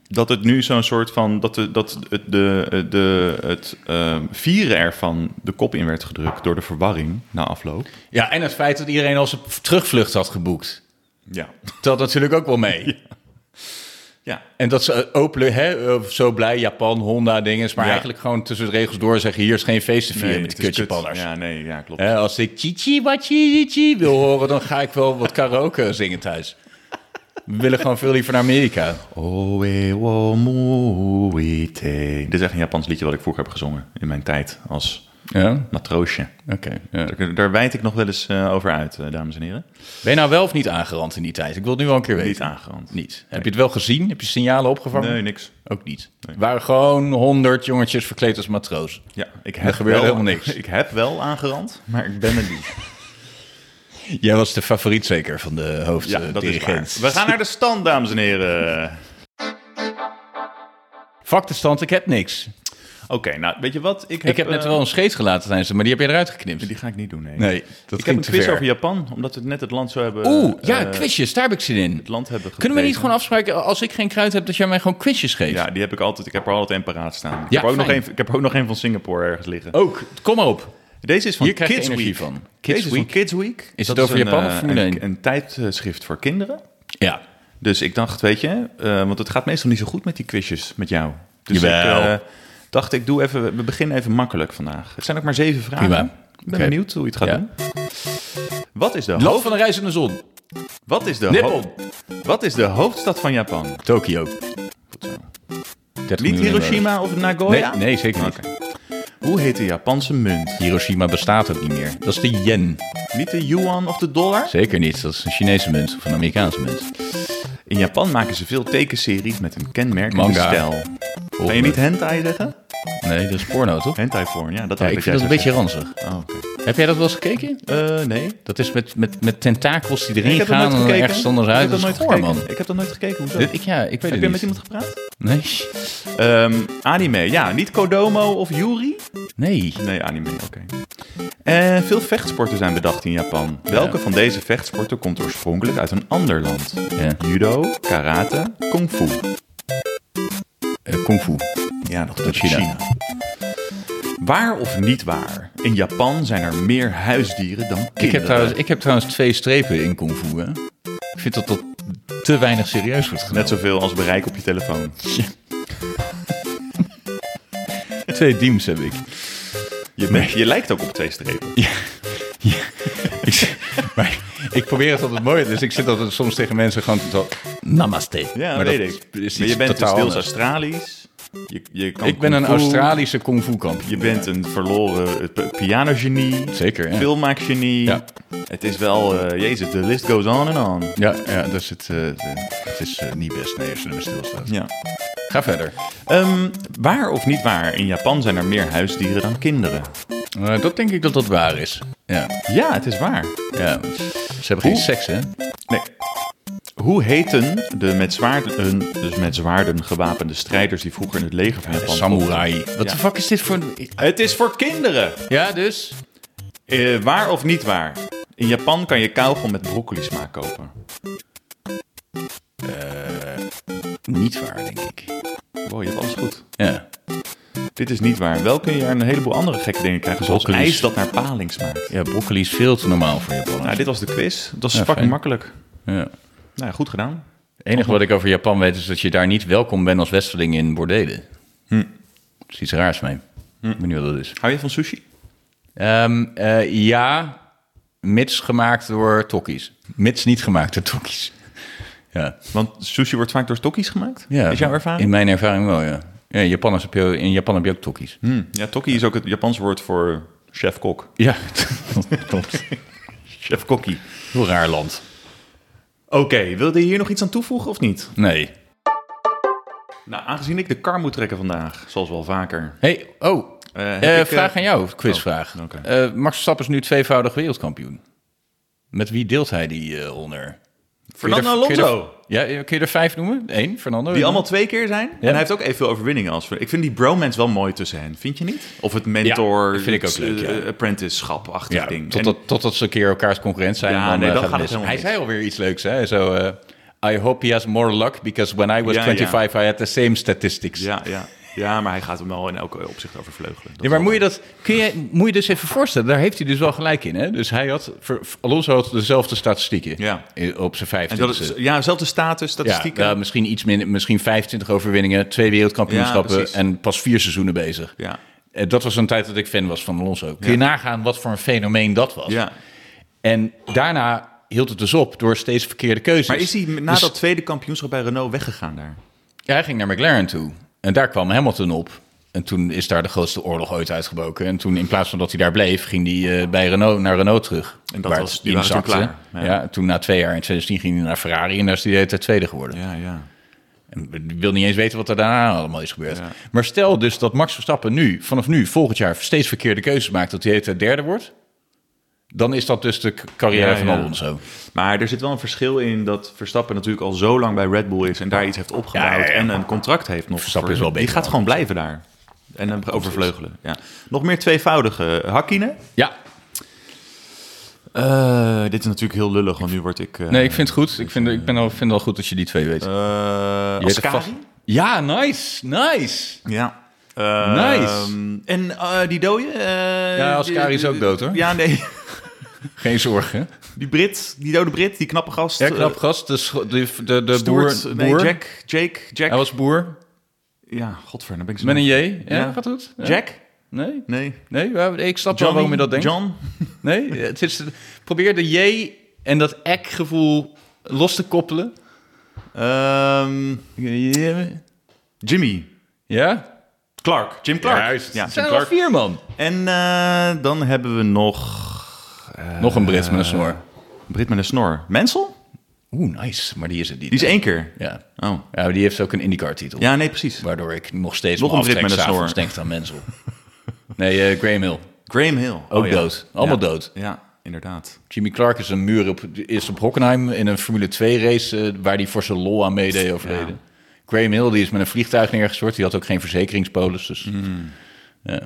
dat het nu zo'n soort van... dat, de, dat het, de, de, het ehm, vieren ervan de kop in werd gedrukt door de verwarring na afloop.
Ja, en het feit dat iedereen al zijn terugvlucht had geboekt.
Ja.
telt natuurlijk ook wel
[laughs]
mee.
Ja,
En dat ze eh, openlijk, hè, eh, zo blij, Japan, Honda, dingen. Maar
Ja.
eigenlijk gewoon tussen de regels door zeggen... hier is geen feest te vieren
Nee,
met die
het is kut.
kutjapanners.
Ja, nee, ja, klopt.
Hè, als ik chichi wachi chi wil horen... dan ga ik wel wat karaoke zingen thuis. We willen gewoon veel liever naar Amerika.
Oe wo moe te. Dit is echt een Japans liedje wat ik vroeger heb gezongen in mijn tijd als
Ja, oké.
matroosje.
ja.
Daar, daar wijd ik nog wel eens eh, over uit, eh, dames en heren.
Ben je nou wel of niet aangerand in die tijd? Ik wil het nu wel een keer weten.
Niet aangerand.
Niet. Heb je het wel gezien? Heb je signalen opgevangen?
Nee, niks.
Ook niet. Waren gewoon honderd jongetjes verkleed als matroos.
Ja, ik heb
gebeurde
wel,
helemaal niks.
[laughs] Ik heb wel aangerand, maar ik ben er
[laughs]
niet.
Jij was de favoriet zeker van de
Ja, dat is
hoofddirigent.
waar. eh, We gaan naar de stand, dames en heren.
Fuck de stand, ik heb niks.
Oké, nou, weet je wat? Ik heb,
Ik heb net
eh,
wel een scheet gelaten tijdens het, maar die heb je eruit geknipt.
Die ga ik niet doen, nee.
Nee, dat
ik heb
ging
een
te
quiz
ver.
over Japan, omdat we net het land zo hebben...
Oeh, ja,
eh,
quizjes, daar heb ik zin in.
Het land hebben
Kunnen we niet
geprezen.
gewoon afspreken, als ik geen kruid heb, dat jij mij gewoon quizjes geeft?
Ja, die heb ik altijd. Ik heb er altijd een paraat staan. Ik,
Ja,
heb ook nog
fijn.
een, ik heb er ook nog een van Singapore ergens liggen.
Ook, kom maar op.
Deze is van
Hier krijg je
Kids
energie
Week.
van. Kids
Deze is van
Week.
Kids Week.
Is
Dat
het over
een,
Japan of
eh,
Formule
een,
één?
een tijdschrift voor kinderen.
Ja.
Dus ik dacht, weet je, eh, want het gaat meestal niet zo goed met die quizjes met jou. Dus
Jawel.
ik eh, dacht, ik doe even, we beginnen even makkelijk vandaag. Het zijn ook maar zeven vragen.
Prima.
Ik ben
Oké.
benieuwd hoe je het gaat
Ja.
doen. Wat is de,
Land
hoofd,
van de reis in de zon.
wat, is de
Nippon.
hoofd- wat is de hoofdstad van Japan?
Tokio.
Goed zo.
30
Niet
miljoen
Hiroshima Oh of
euro.
Nagoya?
Nee, nee, zeker niet.
Oké. Hoe heet de Japanse munt?
Hiroshima bestaat ook niet meer. Dat is de yen.
Niet de yuan of de dollar?
Zeker niet. Dat is een Chinese munt of een Amerikaanse munt.
In Japan maken ze veel tekenseries met een kenmerkende
Manga.
stijl. Kan je niet hentai zeggen?
Nee, dat is porno, toch?
Hentai porn, ja, dat
Ja,
had
ik
jij
vind dat een
zou
beetje ranzig.
zeggen. Oh, oké.
Heb jij dat wel eens gekeken?
Eh, nee.
Dat is met, met, met tentakels die erin
ik heb dat
gaan
nooit
en dan
gekeken.
ergens anders
Ik heb
uit.
dat
Dat is
nooit
goor, man.
gekeken. Ik heb dat nooit gekeken. Hoezo?
Dit, ik, ja, ik weet
heb
het
je
niet.
met iemand gepraat?
Nee.
Ehm, anime, ja. Niet Kodomo of Yuri?
Nee.
Nee, anime, oké. Eh, veel vechtsporten zijn bedacht in Japan. Welke van deze vechtsporten komt oorspronkelijk uit een ander land?
Ja.
Judo, karate, kung fu.
Eh, kung fu.
Ja, dat
uit
is
China.
China. Waar of niet waar? In Japan zijn er meer huisdieren dan kinderen.
Ik heb, trouwens, ik heb trouwens twee strepen in kung fu. Hè. Ik vind dat dat te weinig serieus wordt
[laughs]
genomen.
Net zoveel als bereik op je telefoon.
twee diems heb ik.
Je, bent- je lijkt ook op twee strepen. Ja.
Ik
[laughs]
z- maar ik probeer het altijd mooi. Dus ik zit altijd soms tegen mensen gewoon zo... Namaste.
Ja,
maar
weet
dat
ik.
Is
maar je bent dus
totaal
deels
anders.
Australisch. Je, je kan
Ik ben een
kung fu.
Australische Oh, kung fu kampioen.
Je bent een verloren eh, p- pianogenie.
Zeker, ja.
Filmmaakgenie.
Ja.
Het is wel... eh, jezus, de list goes on and on.
Ja, ja dus het, eh, het is eh, niet best nee, als je er maar stilstaat.
Ja.
Ga verder.
Ehm, waar of niet waar? In Japan zijn er meer huisdieren dan kinderen.
Eh, dat denk ik dat dat waar is. Ja,
Ja, het is waar.
ja. Ze hebben geen
Hoe-
seks, hè?
Nee. Hoe heten de met zwaarden, dus met zwaarden gewapende strijders die vroeger in het leger van Japan
Samurai. Wat de
Ja.
fuck is dit voor een...
Het is voor kinderen.
Ja, dus?
Eh, waar of niet waar? In Japan kan je kauwgom met broccoli smaak kopen.
niet waar, denk ik.
Wow, je hebt alles goed.
Ja.
Dit is niet waar. Wel kun je er een heleboel andere gekke dingen krijgen, zoals
Broccoli.
ijs dat naar paling smaakt.
ja, broccoli is veel te normaal voor Japan.
Nou, dit was de quiz. Dat is
Ja,
fucking
fijn.
makkelijk.
Ja.
Nou, goed gedaan.
Het enige wat ik over Japan weet is dat je daar niet welkom bent als westerling in bordelen. Hm. Er is iets raars mee. Ik weet niet wat dat is.
Hou je van sushi?
Ehm, eh, ja, mits gemaakt door tokkies. Mits niet gemaakt door tokkies. ja.
Want sushi wordt vaak door tokkies gemaakt.
ja.
is jouw ervaring?
In mijn ervaring wel, ja. ja in, Japan is- heb je, in Japan heb je ook tokkies.
Hm, Ja, tokkie is ook het Japans woord voor chef-kok.
Ja, [laughs] klopt.
Chef-kokkie.
Heel raar land.
Oké, wilde je hier nog iets aan toevoegen of niet?
Nee.
Nou, aangezien ik de kar moet trekken vandaag, zoals wel vaker.
Hey, oh,
Eh, heb
eh,
ik, eh,
vraag aan jou, quizvraag.
Oh, oké.
Eh, Max Verstappen is nu tweevoudig wereldkampioen. Met wie deelt hij die eh honor? Kun je
Fernando
er- kun je
Alonso.
er- Ja, eh, kun je er vijf noemen? Eén, Fernando.
Die allemaal twee keer zijn. En hij heeft ook evenveel overwinningen als... Ik vind die bromance wel mooi tussen hen, vind je niet? Of het mentor...
Ja, vind ik ook leuk, ja.
eh, Apprentice-schap-achtig
Ja,
ding. En-
totdat, totdat ze een keer elkaars concurrent zijn.
Ja,
en dan,
nee,
eh,
dan
gaat
gaat
het
het
mis.
helemaal
Hij
mis.
zei alweer iets leuks, hè? Zo, eh, I hope he has more luck, because when I was
Ja,
25, I had the same statistics.
ja, ja. ja, maar hij gaat hem wel in elke opzicht overvleugelen. Dat
Ja, maar moet je dat kun je, moet je dus even voorstellen, daar heeft hij dus wel gelijk in. Hè? Dus hij had, ver- Alonso had dezelfde statistieken
Ja.
eh, op zijn
En
25.
dat is, ja, zelfde status,
ja, nou,
statistieken.
ja, misschien iets minder, misschien 25 overwinningen, twee wereldkampioenschappen
Ja, precies.
en pas vier seizoenen bezig.
Ja.
Eh, Dat was een tijd dat ik fan was van Alonso. Kun je nagaan wat voor een fenomeen dat was?
ja.
En daarna hield het dus op door steeds verkeerde keuzes.
Maar is hij na
Dus-
dat tweede kampioenschap bij Renault weggegaan daar?
Ja, hij ging naar McLaren toe. En daar kwam Hamilton op. En toen is daar de grootste oorlog ooit uitgebroken. En toen, in plaats van dat hij daar bleef, ging hij eh, bij Renault, naar Renault terug.
En dat
Waar
was-
het
die waren toen
inzakte.
klaar.
Ja.
Ja.
toen na twee jaar in 2010 ging hij naar Ferrari en daar is hij de hele tijd tweede geworden.
Ja, ja.
En ik wil niet eens weten wat er daarna allemaal is gebeurd. Maar stel dus dat Max Verstappen nu, vanaf nu, volgend jaar steeds verkeerde keuzes maakt, dat hij de hele tijd derde wordt. Dan is dat dus de k- carrière
Ja,
van
ja.
Alonso.
Maar er zit wel een verschil in dat Verstappen natuurlijk al zo lang bij Red Bull is en daar iets heeft opgebouwd
Ja, ja, ja.
en een contract heeft nog.
Verstappen
voor-
is wel
Die
beter
gaat
dan
gewoon blijven daar. En hem overvleugelen. Ja. Nog meer tweevoudige. Hakkinen.
Ja,
Eh, dit is natuurlijk heel lullig, want nu word ik... eh,
nee, ik vind het goed. Ik vind, ik ben al, vind het al goed dat je die twee weet.
eh,
Je weet het
Ascari?
vast- Ja, nice, nice.
Ja. Eh,
Nice.
En eh, die dode? eh,
Ja, Ascari
die-
is ook dood, hoor.
Ja, nee.
Geen zorgen.
Die Brit, die dode Brit, die knappe gast. Eh,
Ja, knap gast. De, scho- de, de, de
Stuart,
boer.
nee,
boer.
Jack, Jake, Jack.
Hij was boer.
Ja, godver, dan ben ik zo...
Met een J. Ja,
Ja.
gaat goed. Ja.
Jack?
Nee.
Nee.
Nee, ja, ik snap wel
Johnny?
waarom je dat denkt.
John?
Nee, het is, probeer de J en dat ek-gevoel los te koppelen.
Ehm, Jimmy.
Ja?
Clark. Jim Clark. Ja,
Ja,
Jim
het zijn er al
Clark.
vier, man.
En eh, dan hebben we nog
Nog een Brits met een snor.
Brit met een snor. Mensel?
Oeh, nice. Maar die is het niet.
Die is één keer.
Ja.
Oh.
ja, maar die heeft ook een IndyCar-titel.
Ja, nee, precies.
Waardoor ik nog steeds
Nog
nog
een Brit met een snor.
avonds denk aan Menzel. [laughs] Nee, eh Graham Hill.
Graham Hill. Ook
Ook dood. Allemaal dood.
Ja, inderdaad.
Jimmy Clark is een muur op, is op Hockenheim in een Formule 2 race eh, waar hij voor zijn lol aan meedeed overleden. Graham Hill die is met een vliegtuig neergestort. Die had ook geen verzekeringspolis. Dus,
Hmm.
ja.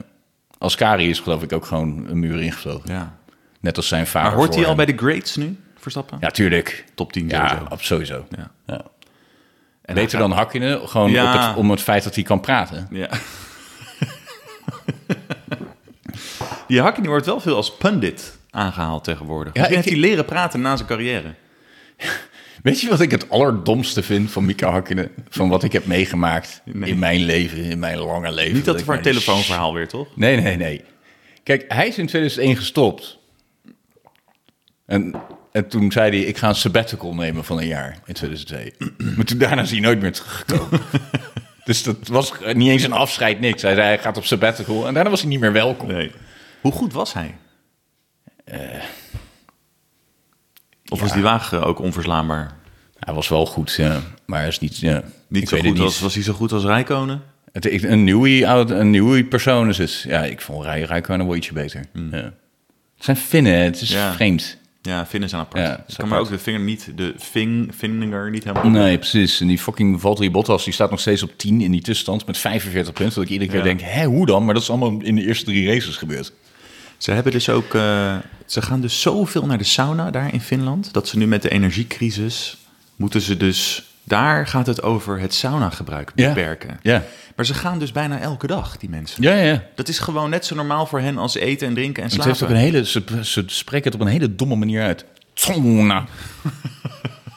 Ascari is geloof ik ook gewoon een muur ingevlogen.
Ja.
Net als zijn vader.
Maar hoort hij
voor
al bij
hem.
de greats nu? Verstappen?
Ja, tuurlijk.
Top 10
Ja,
sowieso.
ab- sowieso.
Ja.
Ja. Beter dan Hakkinen, gewoon
Ja.
op het, om het feit dat hij kan praten.
Ja. [laughs] die Hakkinen wordt wel veel als pundit aangehaald tegenwoordig. Ja,
ik-
heeft hij leren praten na zijn carrière.
Weet je wat ik het allerdomste vind van Mika Hakkinen? Van wat ik heb meegemaakt in mijn leven, in mijn lange leven.
Niet dat
ik
het voor een
naar die
telefoonverhaal weer, toch?
Nee, nee, nee. Kijk, hij is in 2001 gestopt. En, en toen zei hij, ik ga een sabbatical nemen van een jaar in 2002. maar toen daarna is hij nooit meer
[laughs]
teruggekomen. dus dat was niet eens een afscheid, niks. Hij zei, hij gaat op sabbatical. En daarna was hij niet meer welkom.
Nee. Hoe goed was hij?
Eh,
of was die wagen ook onverslaanbaar?
Hij was wel goed, ja, maar hij is niet... Ja,
Niet
ik
zo
weet
goed
het
als, was hij zo goed als Rijkonen?
Het, ik- een nieuwe oud- een nieuwe persoon is het. Ja, ik vond Rij Rijkonen wel ietsje beter. Ja. Het zijn Finnen, het is
Ja.
vreemd.
Ja, Finnen zijn apart.
Ja,
Ze
is
kan
apart.
maar ook de vinger niet, de ving, vinger niet helemaal.
Nee, precies. En die fucking Valtteri Bottas, die staat nog steeds op 10 in die tussenstand met 45 punten. Dat ik iedere keer
Ja.
denk, hé, hoe dan? Maar dat is allemaal in de eerste drie races gebeurd.
Ze hebben dus ook, eh, ze gaan dus zoveel naar de sauna daar in Finland, dat ze nu met de energiecrisis moeten ze dus Daar gaat het over het saunagebruik
Ja.
beperken.
Ja.
Maar ze gaan dus bijna elke dag, die mensen.
Ja, ja.
Dat is gewoon net zo normaal voor hen als eten en drinken en
Het
slapen.
heeft ook een hele, ze, ze spreken het op een hele domme manier uit. [laughs] Tsona.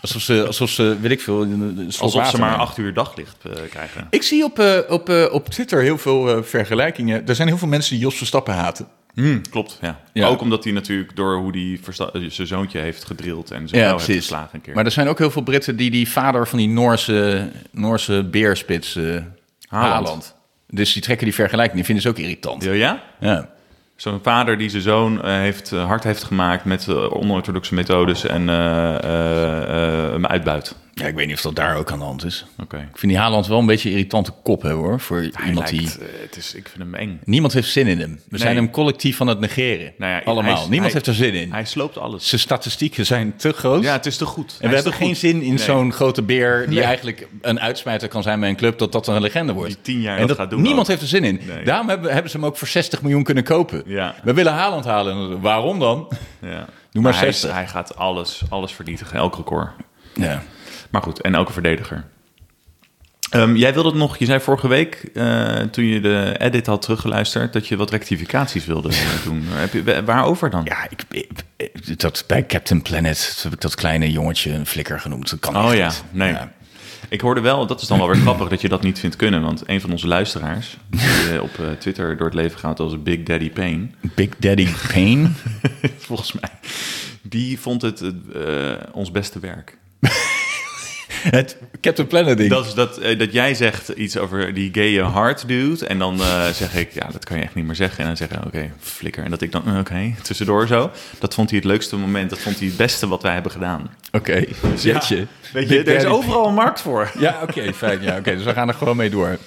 alsof ze, alsof ze, weet ik veel, een- een slok
Alsof ze
water
maar
nemen.
acht uur daglicht eh, krijgen.
Ik zie op, eh, op, eh, op Twitter heel veel eh, vergelijkingen. Er zijn heel veel mensen die Jos Verstappen haten.
Hmm, klopt, ja.
Ja.
Ook omdat hij natuurlijk door hoe hij versta- eh, zijn zoontje heeft gedrild en zijn
Ja,
vrouw heeft
precies.
geslagen een keer.
Maar er zijn ook heel veel Britten die die vader van die Noorse, Noorse beerspits, eh
Haaland.
Haaland. Dus die trekken die vergelijking, die vinden ze ook irritant.
Ja, ja?
Ja.
Zo'n vader die zijn zoon eh, heeft, eh, hard heeft gemaakt met eh, onorthodoxe methodes en eh, eh, eh, hem uitbuit.
Ja, ik weet niet of dat daar ook aan de hand is.
Oké.
Ik vind die Haaland wel een beetje een irritante kop hebben hoor. Voor
Hij
iemand die.
lijkt, eh, het is, ik vind hem eng.
Niemand heeft zin in hem. We zijn hem collectief aan het negeren.
Nou ja,
Allemaal.
hij is-
Niemand
hij-
heeft er zin in.
Hij sloopt alles.
Zijn statistieken zijn te groot.
Ja, het is te goed.
en we hebben geen zin in zo'n grote beer die
Nee.
eigenlijk een uitsmijter kan zijn bij een club, dat dat een legende wordt.
Die tien jaar
en
dat gaat doen
Niemand
ook.
heeft er zin in.
Nee.
Daarom hebben, hebben ze hem ook voor 60 miljoen kunnen kopen.
Ja.
We willen Haaland halen. Waarom dan?
Ja.
maar
hij, is-
60.
hij gaat alles, alles vernietigen, elk record.
Ja.
Maar goed, en elke verdediger. Ehm, jij wilde het nog, je zei vorige week, eh, toen je de edit had teruggeluisterd, dat je wat rectificaties wilde [laughs] doen. Heb je, waarover dan?
Ja, ik, ik- ik- dat, bij Captain Planet heb ik dat kleine jongetje een flikker genoemd. Dat kan
Oh
echt
ja,
niet.
nee.
Ja.
Ik hoorde wel, dat is dan wel [clears throat] weer grappig dat je dat niet vindt kunnen. Want een van onze luisteraars, die eh, op eh, Twitter door het leven gaat als Big Daddy Pain,
Big Daddy Pain.
[laughs] volgens mij, die vond het eh, eh, ons beste werk.
[laughs] het Captain Planet ding.
Dat, is dat, eh, dat jij zegt iets over die gaye hard dude. En dan [laughs] eh, zeg ik, ja, dat kan je echt niet meer zeggen. En dan zeggen, oké, flikker. En dat ik dan, eh, oké, tussendoor zo. Dat vond hij het leukste moment. Dat vond hij het beste wat wij hebben gedaan.
Oké, zit je.
Weet je,
Big
er is
Daddy-
overal een markt voor.
Ja, oké, fijn. Ja, oké, dus we gaan er gewoon mee door.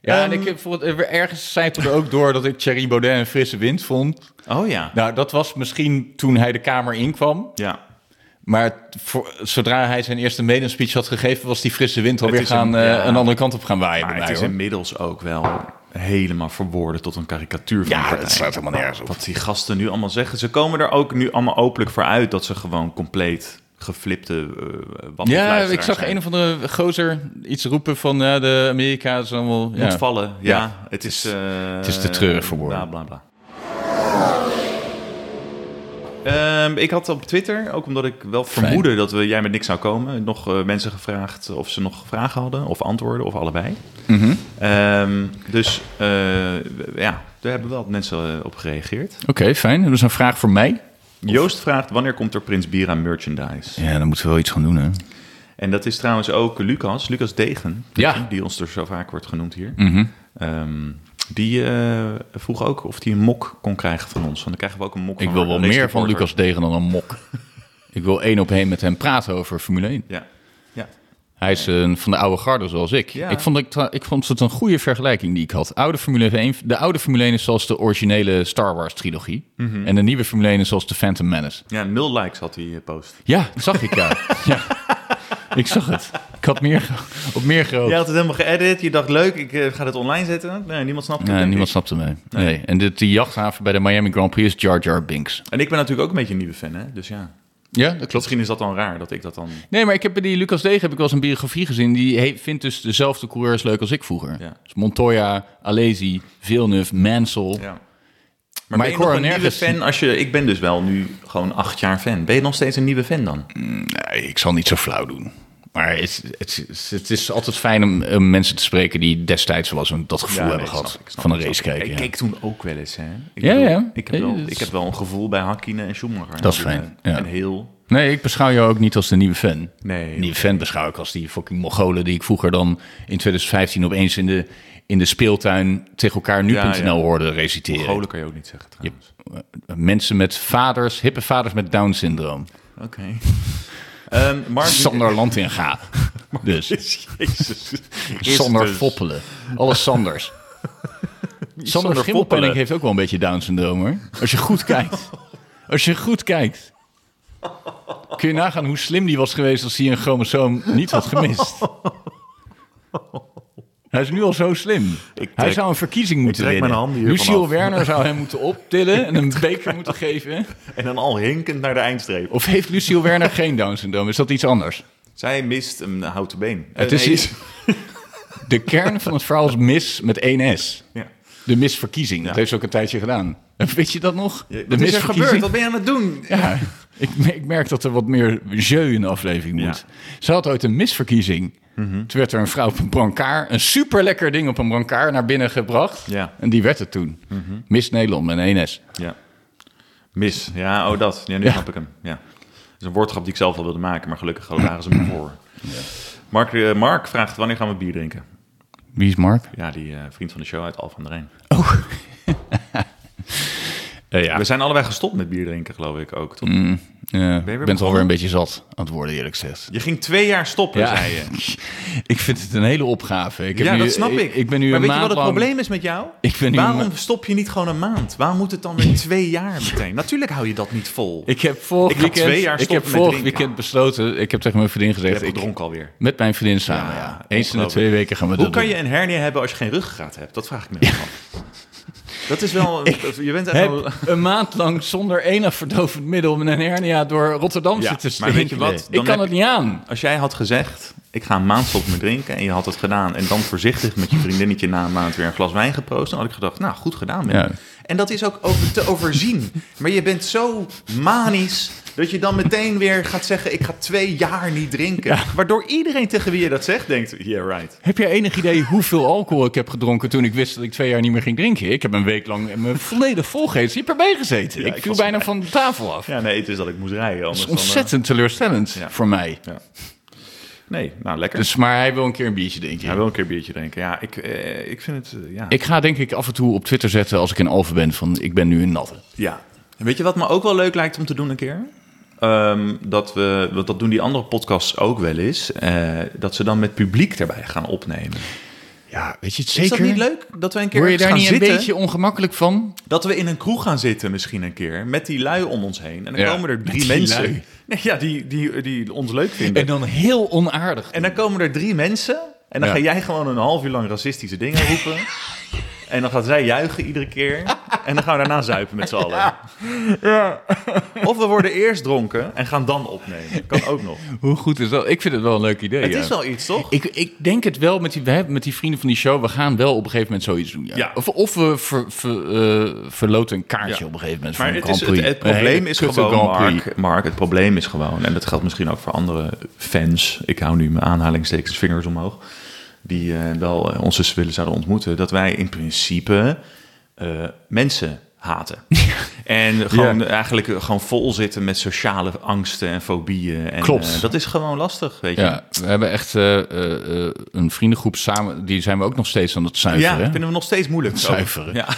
Ja, en ik heb voor ergens zijpelde ook door dat ik Thierry Baudet een frisse wind vond.
Oh ja.
Nou, dat was misschien toen hij de Kamer inkwam.
Ja,
Maar voor, zodra hij zijn eerste medenspeech had gegeven, was die frisse wind alweer
is een-
gaan, eh, een,
ja.
een andere kant op gaan waaien bij
maar
mij.
Ah, het is
hoor.
inmiddels ook wel helemaal verwoorden tot een karikatuur van
Ja,
de partij.
dat slaat helemaal nergens op.
Wat die gasten nu allemaal zeggen. Ze komen er ook nu allemaal openlijk voor uit dat ze gewoon compleet geflipte eh
Ja, ik zag
zijn.
een of andere gozer iets roepen van ja, de Amerika is allemaal...
moet
Ja.
vallen. Ja,
Ja.
het is... eh,
het is te treurig voor woorden.
Bla, bla, bla. Ehm, ik had op Twitter, ook omdat ik wel
Fijn.
vermoedde dat we, jij met niks zou komen, nog eh, mensen gevraagd of ze nog vragen hadden of antwoorden of allebei.
Mhm.
Ehm, dus eh, w- ja, daar hebben wel wat mensen eh, op gereageerd.
Oké, fijn. Dat is een vraag voor mij.
Joost vraagt, wanneer komt er Prins Bira merchandise?
Ja, dan moeten we wel iets gaan doen, hè?
En dat is trouwens ook Lucas, Lucas Degen,
Ja.
die ons er zo vaak wordt genoemd hier.
Mhm.
Ehm, die eh, vroeg ook of hij een mok kon krijgen van ons. Want dan krijgen we ook een mok
Ik
van
wil wel
Race
meer van
Reporter.
Lucas Degen dan een mok. [laughs] Ik wil één op één met hem praten over Formule 1.
Ja. ja.
Hij is een van de oude garde zoals ik.
Ja.
Ik, vond het, eh, ik vond het een goede vergelijking die ik had. Oude Formule 1, de oude Formule 1 is zoals de originele Star Wars trilogie.
Mhm.
En de nieuwe Formule 1 is zoals de Phantom Menace.
ja, nul likes had die eh, post.
Ja, dat zag ik
[laughs]
ja. ja. Ik zag het. Ik had meer, ge- op meer gehoopt.
Jij had het helemaal geëdit. Je dacht, leuk, ik eh, ga dit online zetten. Nee, niemand snapt het.
Nee,
denk
niemand
ik.
snapte mij. Nee. En dit, die jachthaven bij de Miami Grand Prix is Jar Jar Binks.
En ik ben natuurlijk ook een beetje een nieuwe fan, hè? Dus ja.
Ja, dat klopt.
Misschien is dat dan raar dat ik dat dan...
Nee, maar ik heb bij die Lucas Degen heb ik wel eens een biografie gezien. Die he- vindt dus dezelfde coureurs leuk als ik vroeger.
Ja.
Dus Montoya, Alesi, Villeneuve, Mansell.
Ja.
Maar
Maar, ben
ik
je
hoor
nog een
nergens-
nieuwe fan als je... Ik ben dus wel nu gewoon acht jaar fan. Ben je nog steeds een nieuwe fan dan?
Nee, ik zal niet zo flauw doen. Maar het, het, het, is altijd fijn om, om mensen te spreken die destijds wel zo'n dat gevoel
Ja,
hebben
nee,
gehad.
snap ik, snap
van een
ik,
race
snap ik.
kijken.
Ik
ja.
keek toen ook wel eens, hè? Ik
Ja,
bedoel,
ja.
Ik heb, wel,
Ja, dat
ik
is-
heb wel een gevoel bij Hakkinen en Schumacher.
Dat is
En, eh,
fijn, ja.
En heel...
Nee, ik beschouw jou ook niet als de nieuwe fan.
Nee.
Nieuwe fan beschouw ik als die fucking Mongolen die ik vroeger dan in 2015 opeens in de, in de speeltuin tegen elkaar nu.nl
Ja, ja.
hoorde reciteren.
Mongolen kan je ook niet zeggen trouwens.
Mensen met vaders, hippe vaders met Down-syndroom.
Oké. [laughs] Ehm, Mark,
Sander Lantinga. Dus.
[laughs] Jezus.
Sander
Is dus-
Foppelen. Alle
[laughs]
Sanders. Sander Schimmelpenning
Foppelen.
heeft ook wel een beetje Down-syndroom hoor. Als je goed kijkt. Als je goed kijkt. Kun je nagaan hoe slim die was geweest als hij een chromosoom niet had gemist. Hij is nu al zo slim. hij
trek-
zou een verkiezing moeten
trek
winnen.
mijn handen hiervan
Luciel
af.
Werner zou hem moeten optillen en een beker moeten geven.
En dan al hinkend naar de eindstreep.
[laughs] Of heeft Luciel Werner geen Down-syndroom? Is dat iets anders?
Zij mist een houten been.
Het
Eh,
is
nee.
iets- De kern van het verhaal is mis met één S.
Ja.
De misverkiezing. Dat heeft ze ook een tijdje gedaan. En Weet je dat nog?
Ja,
De
Wat is er gebeurd? Wat ben je aan het doen?
Ja, ik, ik merk dat er wat meer jeu in de aflevering moet. Ze had ooit een misverkiezing.
Mhm.
Toen werd er een vrouw op een brancard, een superlekker ding op een brancard naar binnen gebracht.
Ja. Mhm.
En die werd het toen. Miss Nederland met een S.
Ja. Mis. Ja, oh dat. Ja, nu
Ja.
snap ik hem. Ja. Dat is een woordgrap die ik zelf al wilde maken, maar gelukkig waren
[clears throat]
ze me voor. Mark, eh, Mark vraagt, wanneer gaan we bier drinken?
Wie is Mark?
Ja, die eh, vriend van de show uit Al van de Rijn.
Eh, ja,
We zijn allebei gestopt met bier drinken, geloof ik ook. toch?
Eh,
weer
ik ben het
begonnen?
alweer een beetje zat aan het worden, eerlijk gezegd.
Je ging twee jaar stoppen, zei je.
[laughs] ik vind het een hele opgave. Ik heb
Ja,
nu-
dat snap ik.
Ik ben nu
maar
een
weet je wat
maand
het
lang-
probleem is met jou?
[laughs] Ik ben nu
Waarom
een ma-
stop je niet gewoon een maand? Waarom moet het dan
[laughs]
weer twee jaar meteen? Natuurlijk hou je dat niet vol.
Ik heb vorig
Ik had
weekend,
twee
ik
jaar stoppen
heb
met
vorig
drinken.
weekend besloten. Ik heb tegen mijn vriendin
je
gezegd.
hebt
Ik,
gedronken alweer.
met mijn vriendin samen. Ja, Eens in de
ongelooflijk.
twee weken gaan we
Hoe
dat
kan
doen.
je een hernia hebben als je geen ruggengraat hebt? Dat
[laughs]
vraag ik me echt af. Dat is wel... je bent echt wel...
heb een maand lang zonder enig verdovend middel met een hernia door Rotterdam
Ja,
zitten
maar
steken.
weet je wat? Dan
Ik kan
heb-
het niet aan.
Als jij had gezegd, ik ga een maand stoppen met drinken... en je had dat gedaan en dan voorzichtig met je vriendinnetje na een maand weer een glas wijn geproost... dan had ik gedacht, nou, goed gedaan. man.
Ja.
En dat is ook over te overzien. Maar je bent zo manisch dat je dan meteen weer gaat zeggen... ik ga twee jaar niet drinken. Waardoor iedereen tegen wie je dat zegt denkt, yeah, right.
Heb jij enig idee hoeveel alcohol ik heb gedronken toen ik wist dat ik twee jaar niet meer ging drinken? Ik heb een week lang me volledig volgegeten, hyper bij gezeten.
Ja,
ik
ik
viel
was-
bijna van de tafel af.
Ja, nee, het is dat ik moest rijden. Anders
dat is
dan, eh,
ontzettend teleurstellend
Ja.
voor mij.
nee, nou, lekker.
Dus, maar hij wil een keer een biertje drinken.
Hij wil een keer biertje drinken. Ja, ik, eh, ik vind het... eh, ja.
Ik ga denk ik af en toe op Twitter zetten als ik in Alphen ben van ik ben nu een natte.
Ja. En Weet je wat me ook wel leuk lijkt om te doen een keer? Ehm, dat we, want dat doen die andere podcasts ook wel eens, eh, dat ze dan met publiek erbij gaan opnemen.
Ja, weet je het
Is dat niet leuk? Dat we een keer
Word je
ergens
daar
gaan
niet
zitten,
een beetje ongemakkelijk van?
dat we in een kroeg gaan zitten misschien een keer, met die lui om ons heen. En dan
Ja,
komen er
met
drie
die
mensen
lui.
Nee, ja, die, die, die ons leuk vinden.
En
En,
dan heel onaardig.
dan komen er drie mensen en dan
Ja.
ga jij gewoon een half uur lang racistische dingen roepen.
[laughs]
en dan gaat zij juichen iedere keer. En dan gaan we daarna zuipen met z'n allen. Of we worden eerst dronken en gaan dan opnemen. Kan ook nog.
Hoe goed is dat? Ik vind het wel een leuk idee.
Het
ja.
is wel iets, toch?
Ik, ik denk het wel met die, we hebben met die vrienden van die show. We gaan wel op een gegeven moment zoiets doen. Ja.
Ja.
Of, of we ver, ver- eh, verloten een kaartje
Ja.
op een gegeven moment.
Maar
voor
het,
een
is,
Grand
het,
Prix.
het probleem
Een
is
hele kutte
gewoon,
Grand Prix.
Mark, Mark, het probleem is gewoon... en dat geldt misschien ook voor andere fans... ik hou nu mijn aanhalingstekens vingers omhoog... die eh, wel eh, ons dus willen zouden ontmoeten... dat wij in principe eh, mensen
[laughs]
haten. En gewoon eigenlijk eh, gewoon vol zitten met sociale angsten en fobieën. En,
Klopt.
eh, dat is gewoon lastig, weet je.
Ja, we hebben echt eh, eh, eh, een vriendengroep samen. Die zijn we ook nog steeds aan het
Ja,
zuiveren.
vinden we nog steeds moeilijk. zo.
Zuiveren.
Ja.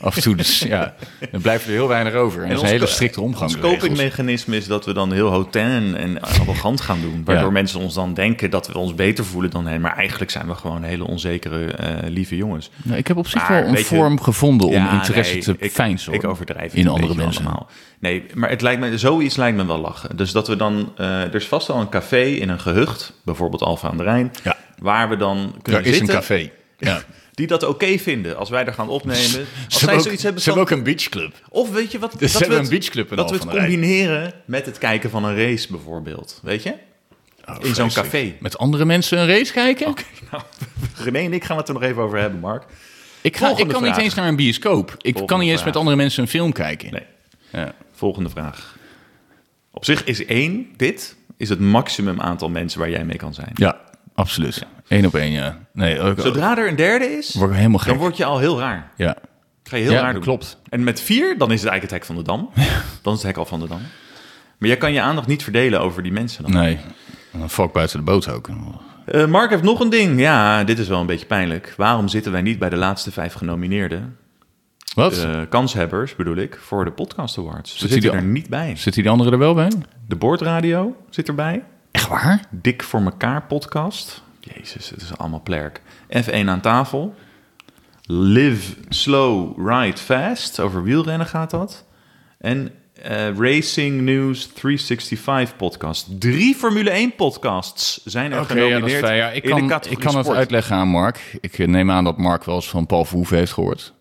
Af en toe dus, ja. Dan blijft er heel weinig over. En dat is een
ons-
hele strikte
Ons
omgang.
copingmechanisme is dat we dan heel hotain en arrogant gaan doen. Waardoor
Ja.
mensen ons dan denken dat we ons beter voelen dan hen. Maar eigenlijk zijn we gewoon hele onzekere, eh, lieve jongens.
Nou, ik heb op zich
Maar
wel een
weet je-
vorm gevonden om
Ah, Ja,
interesse
nee,
te
ik-
fijnsen.
Ik
hoor.
overdrijf het
In
een
andere
beetje
mensen.
allemaal. Nee, maar het lijkt me, zoiets lijkt me wel lachen. Dus dat we dan, eh, er is vast al een café in een gehucht, bijvoorbeeld Alfa aan de Rijn,
Ja.
waar we dan kunnen
Er is een
zitten,
café. Ja.
Die dat oké vinden als wij er gaan opnemen. Als
[laughs] Ze
zij
hebben ook-
zoiets hebben
ze
van,
hebben ook een beachclub.
Of weet je wat?
Dus ze
we
hebben
het-
een beachclub in
Dat we
Alphen
het
aan de Rijn.
combineren met het kijken van een race bijvoorbeeld. Weet je? in zo'n café.
Oh, Met andere mensen een race kijken?
Nou, René en ik gaan het er nog even over hebben, Mark.
Ik, ga, ik kan
Volgende
niet
vraag.
eens naar een bioscoop. Ik kan niet eens
vraag.
met andere mensen een film kijken.
Nee.
Ja.
Volgende vraag. Op zich is één, dit, is het maximum aantal mensen waar jij mee kan zijn.
Ja, absoluut. Eén op één, ja. Nee, ook,
Zodra er een derde is,
word ik helemaal gek.
dan word je al heel raar.
Ja.
Ik ga je heel
Ja,
raar
dat
doen.
klopt.
En met vier, dan is het eigenlijk het hek van de dam. Dan is het hek al van de dam. Maar jij kan je aandacht niet verdelen over die mensen dan.
Nee. En Dan val ik buiten de boot ook.
Eh, Mark heeft nog een ding. Ja, dit is wel een beetje pijnlijk. Waarom zitten wij niet bij de laatste vijf genomineerden?
Wat?
Eh, kanshebbers bedoel ik, voor de Podcast Awards. Ze
Zit die
zitten
al-
er niet bij.
Zit die andere er wel bij?
De Boordradio zit erbij.
Echt waar?
Dik voor elkaar podcast. Jezus, het is allemaal plerk. F1 aan tafel. Live slow, ride fast. Over wielrennen gaat dat. En eh, Racing News 365 podcast. Drie Formule 1 podcasts zijn er
Oké, ja, dat is
genomineerd
fijn. Ja, ik
in de
kan,
categorie
ik kan het
sport.
uitleggen aan Mark. Ik eh, neem aan dat Mark wel eens van Paul Verhoeven heeft gehoord.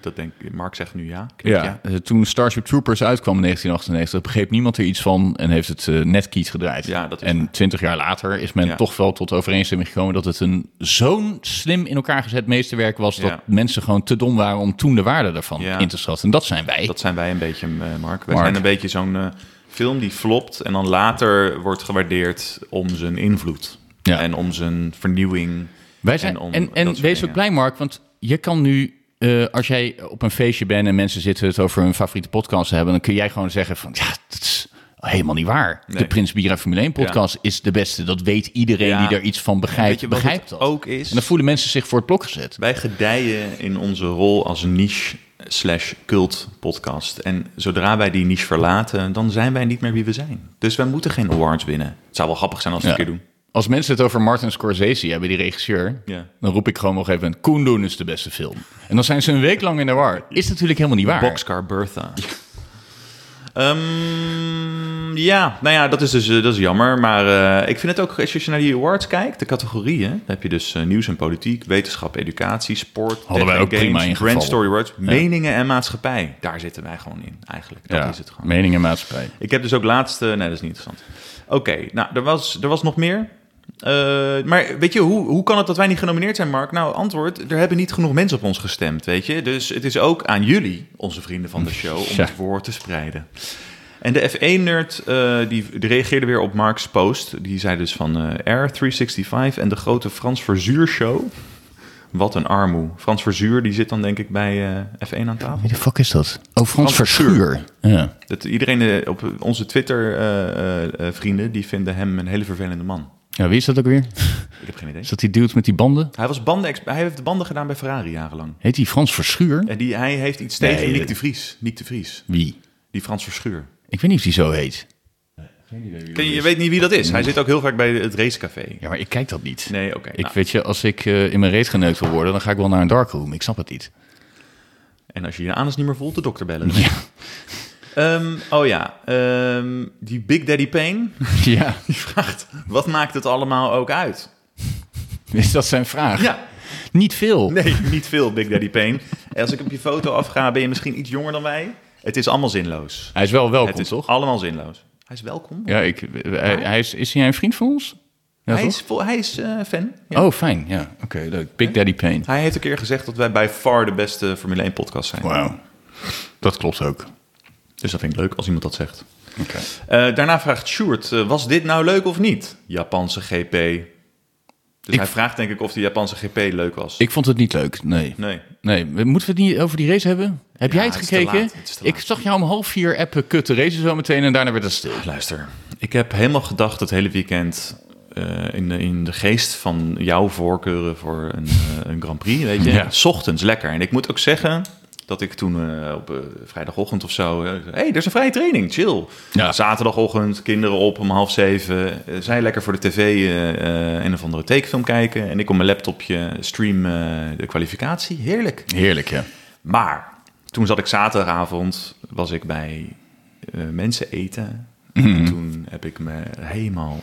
Dat denk ik. Mark zegt nu ja. Knikt
Ja, eh, toen Starship Troopers uitkwam in 1998, begreep niemand er iets van en heeft het eh, net kies gedraaid.
Ja, dat is
en
waar.
twintig jaar later is men
Ja.
toch wel tot overeenstemming gekomen dat het een zo'n slim in elkaar gezet meesterwerk was dat
Ja.
mensen gewoon te dom waren om toen de waarde daarvan
Ja.
in te schatten. En dat zijn wij.
Dat zijn wij een beetje, eh, Mark. Wij
Mark.
zijn een beetje zo'n eh, film die flopt en dan later wordt gewaardeerd om zijn invloed.
Ja.
En om zijn vernieuwing.
Wij zijn,
en
en
om
en,
dat soort
wees ook
dingen.
blij, Mark, want je kan nu, eh, als jij op een feestje bent en mensen zitten het over hun favoriete podcast te hebben, dan kun jij gewoon zeggen van, ja, dat is helemaal niet waar.
Nee.
De Prins Bira Formule 1 podcast is de beste. Dat weet iedereen
Ja.
die er iets van
Weet
begrijpt,
je wat
begrijpt
het
dat.
ook is?
En dan voelen mensen zich voor het blok gezet.
Wij gedijen in onze rol als niche slash cult podcast. En zodra wij die niche verlaten, dan zijn wij niet meer wie we zijn. Dus wij moeten geen awards winnen. Het zou wel grappig zijn als we het
Ja.
een keer doen.
Als mensen het over Martin Scorsese hebben, die regisseur,
Ja.
dan roep ik gewoon nog even, Koen Doen is de beste film. En dan zijn ze een week lang in de war. Is natuurlijk helemaal niet waar.
Boxcar Bertha. Ehm, ja, nou ja, dat is dus eh, dat is jammer. Maar eh, ik vind het ook, als je naar die awards kijkt, de categorieën, dan heb je dus eh, nieuws en politiek, wetenschap, educatie, sport, tech
Hadden wij
en
ook prima
games,
ingevallen.
brand story awards, meningen en maatschappij. Daar zitten wij gewoon in, eigenlijk. Dat
ja,
is het gewoon.
mening en maatschappij.
Ik heb dus ook laatste. Nee, dat is niet interessant. Oké, nou, er was, er was nog meer. Eh, maar weet je, hoe, hoe kan het dat wij niet genomineerd zijn, Mark? Nou, antwoord, er hebben niet genoeg mensen op ons gestemd, weet je. Dus het is ook aan jullie, onze vrienden van de show, om
Ja.
het woord te spreiden. En de F1-nerd, eh, die, die reageerde weer op Mark's post. Die zei dus van eh, Air 365 en de grote Frans Verzuur-show. Wat een armoe. Frans Verzuur, die zit dan denk ik bij eh, F1 aan tafel.
Wie de fuck is dat? Oh, Frans
Verschuur.
Verschuur. Ja.
Dat iedereen eh, op onze eh, Twitter-vrienden, die vinden hem een hele vervelende man.
ja, wie is dat ook weer?
Ik heb geen idee.
Is dat die dude met die banden?
Hij, was banden hij heeft de banden gedaan bij Ferrari jarenlang.
Heet die Frans Verschuur?
En die, hij heeft iets tegen
Nee,
Nick
dat-
de Vries. Nick de Vries.
Wie?
Die Frans Verschuur.
Ik weet niet of die zo heet.
Ken je, je weet niet wie dat is. Hij zit ook heel vaak bij het racecafé.
Ja, maar ik kijk dat niet.
Nee, oké.
Ik
nou,
weet je, als ik eh, in mijn race geneukt wil worden, dan ga ik wel naar een darkroom. Ik snap het niet. [laughs]
En als je je anus niet meer voelt, de dokter bellen. Ehm, oh ja, ehm, die Big Daddy [laughs] Payne
ja,
vraagt... Wat maakt het allemaal ook uit?
is dat zijn vraag?
Ja,
Niet veel.
Nee, niet veel, Big Daddy Payne. En als ik op je foto afga, ben je misschien iets jonger dan wij. Het is allemaal zinloos.
Hij is wel welkom,
Het is
toch?
allemaal zinloos. Hij is welkom.
Ja, ik, eh, hij, hij is, is hij een vriend van ons? Ja,
hij,
toch?
is, vol- hij is eh, fan. Ja.
Oh, fijn. Ja, oké, leuk. Big Daddy Pain.
Hij heeft een keer gezegd dat wij bij far de beste Formule 1 podcast zijn.
Wauw. Dat klopt ook.
Dus dat vind ik leuk als iemand dat zegt.
Oké.
Eh, daarna vraagt Sjoerd, eh, was dit nou leuk of niet? Japanse GP. Dus
Ik-
hij vraagt denk ik of de Japanse GP leuk was.
Ik vond het niet leuk, nee.
Nee.
Nee, we- moeten we het niet over die race hebben? Heb
Ja,
jij het
het is te
gekeken?
laat, het is te
Ik
laat.
zag jou om half vier appen kut de race zo meteen en daarna werd het stil.
Luister, ik heb helemaal gedacht het hele weekend eh, in, de, in de geest van jouw voorkeuren voor een, eh, een Grand Prix, weet je.
Ja.
S ochtends lekker. En ik moet ook zeggen dat ik toen eh, op eh, vrijdagochtend of zo... Hé, hey, er is een vrije training, chill.
Ja.
Zaterdagochtend, kinderen op om half zeven. eh, zij lekker voor de tv eh, eh, een of andere tekenfilm kijken. En ik op mijn laptopje stream eh, de kwalificatie. Heerlijk.
Heerlijk, hè?
Maar toen zat ik zaterdagavond, was ik bij eh, mensen eten.
Mhm.
En toen heb ik me helemaal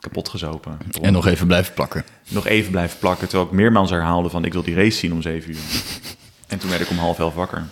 kapot gezopen.
En nog even blijven plakken.
Nog even blijven plakken, terwijl ik meermaals herhaalde van ik wil die race zien om zeven uur.
[laughs]
en toen werd ik om half elf wakker.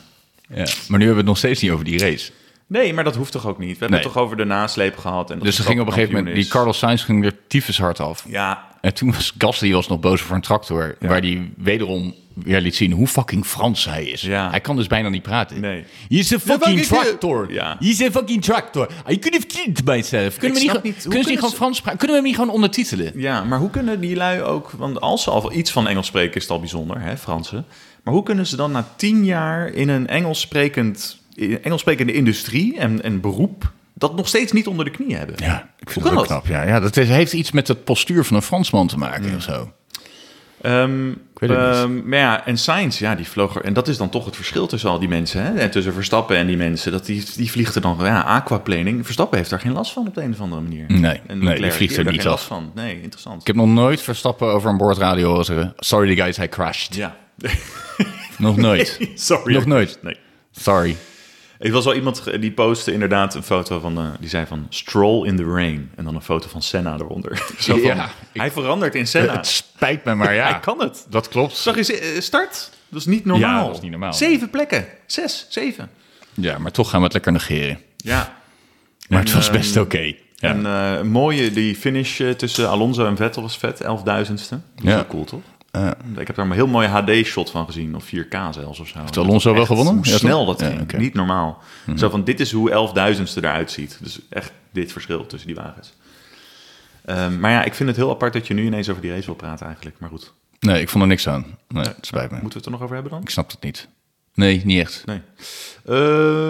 Ja. Maar nu hebben we het nog steeds niet over die race.
Nee, maar dat hoeft toch ook niet? We hebben
Nee.
het toch over de nasleep gehad. En dat
Dus
de
er ging op
stad
een gegeven moment... Die
kampioen is.
Carlos Sainz ging er tyfus hard af.
Ja,
En toen was Gasly was nog boos voor een tractor... waar hij wederom weer liet zien hoe fucking Frans hij is.
Ja.
Hij kan dus bijna niet praten.
Nee.
He is a fucking tractor.
Ja.
He is a fucking tractor. I could have killed myself. Kunnen we niet,
snap
gewoon-
niet. Hoe
kunnen ze
kunnen
niet gewoon
ze-
Frans praten? Kunnen we hem niet gewoon ondertitelen?
Ja, maar hoe kunnen die lui ook... Want als ze al wel iets van Engels spreken, is het al bijzonder, hè, Fransen. Maar hoe kunnen ze dan na tien jaar in een Engels sprekend, Engels sprekende industrie en, en beroep... dat nog steeds niet onder de knie hebben?
Ja, ik vind
Hoe
het
kan
ook
dat?
knap. Ja, ja, dat is- heeft iets met het postuur van een Fransman te maken of zo.
Ehm,
weet het niet.
ehm, maar ja, en Sainz, ja, die vlog er... En dat is dan toch het verschil tussen al die mensen, hè? En tussen Verstappen en die mensen. Dat die, die vliegt er dan... Ja, aquaplaning. Verstappen heeft daar geen last van op de een of andere manier.
Nee, nee,
en
die
Leclerc,
vliegt
heeft
er
daar
niet
geen
af.
last van. Nee, interessant.
Ik heb nog nooit Verstappen over een boordradio horen zeggen... Sorry the guys, hij crashed. [laughs]
Ja.
Nog nooit.
[laughs] Sorry.
Nog nooit.
Nee.
Sorry.
Er was wel iemand ge- die postte inderdaad een foto van, eh, die zei van Stroll in the rain. En dan een foto van Senna eronder. [laughs] Zo van,
Ja, ik-
hij verandert in Senna. [laughs]
Het spijt me, maar ja.
Hij kan het.
Dat klopt.
Zag je ze- eh, start? Dat is niet normaal.
Ja, dat is niet normaal.
Zeven plekken. Zes, zeven.
Ja, maar toch gaan we het lekker negeren.
Ja.
Maar het was best oké. Ja.
ehm, En eh, een mooie, die finish eh, tussen Alonso en Vettel was vet. 11.000ste. Dat is
Ja.
wel cool, toch? Ik heb daar een heel mooi HD-shot van gezien. Of 4K zelfs of zo. Heeft
Alonso wel gewonnen?
Hoe
Ja, toch?
snel dat
Ja,
ging.
oké. Mhm.
Niet normaal. Zo van, dit is hoe 11.000ste eruit ziet. Dus echt dit verschil tussen die wagens. Ehm, maar ja, ik vind het heel apart dat je nu ineens over die race wil praten eigenlijk. Maar goed,
Nee, ik vond er niks aan. Nee, het spijt me.
moeten we het er nog over hebben dan?
Ik snap het niet. Nee, niet echt.
Nee. Eh,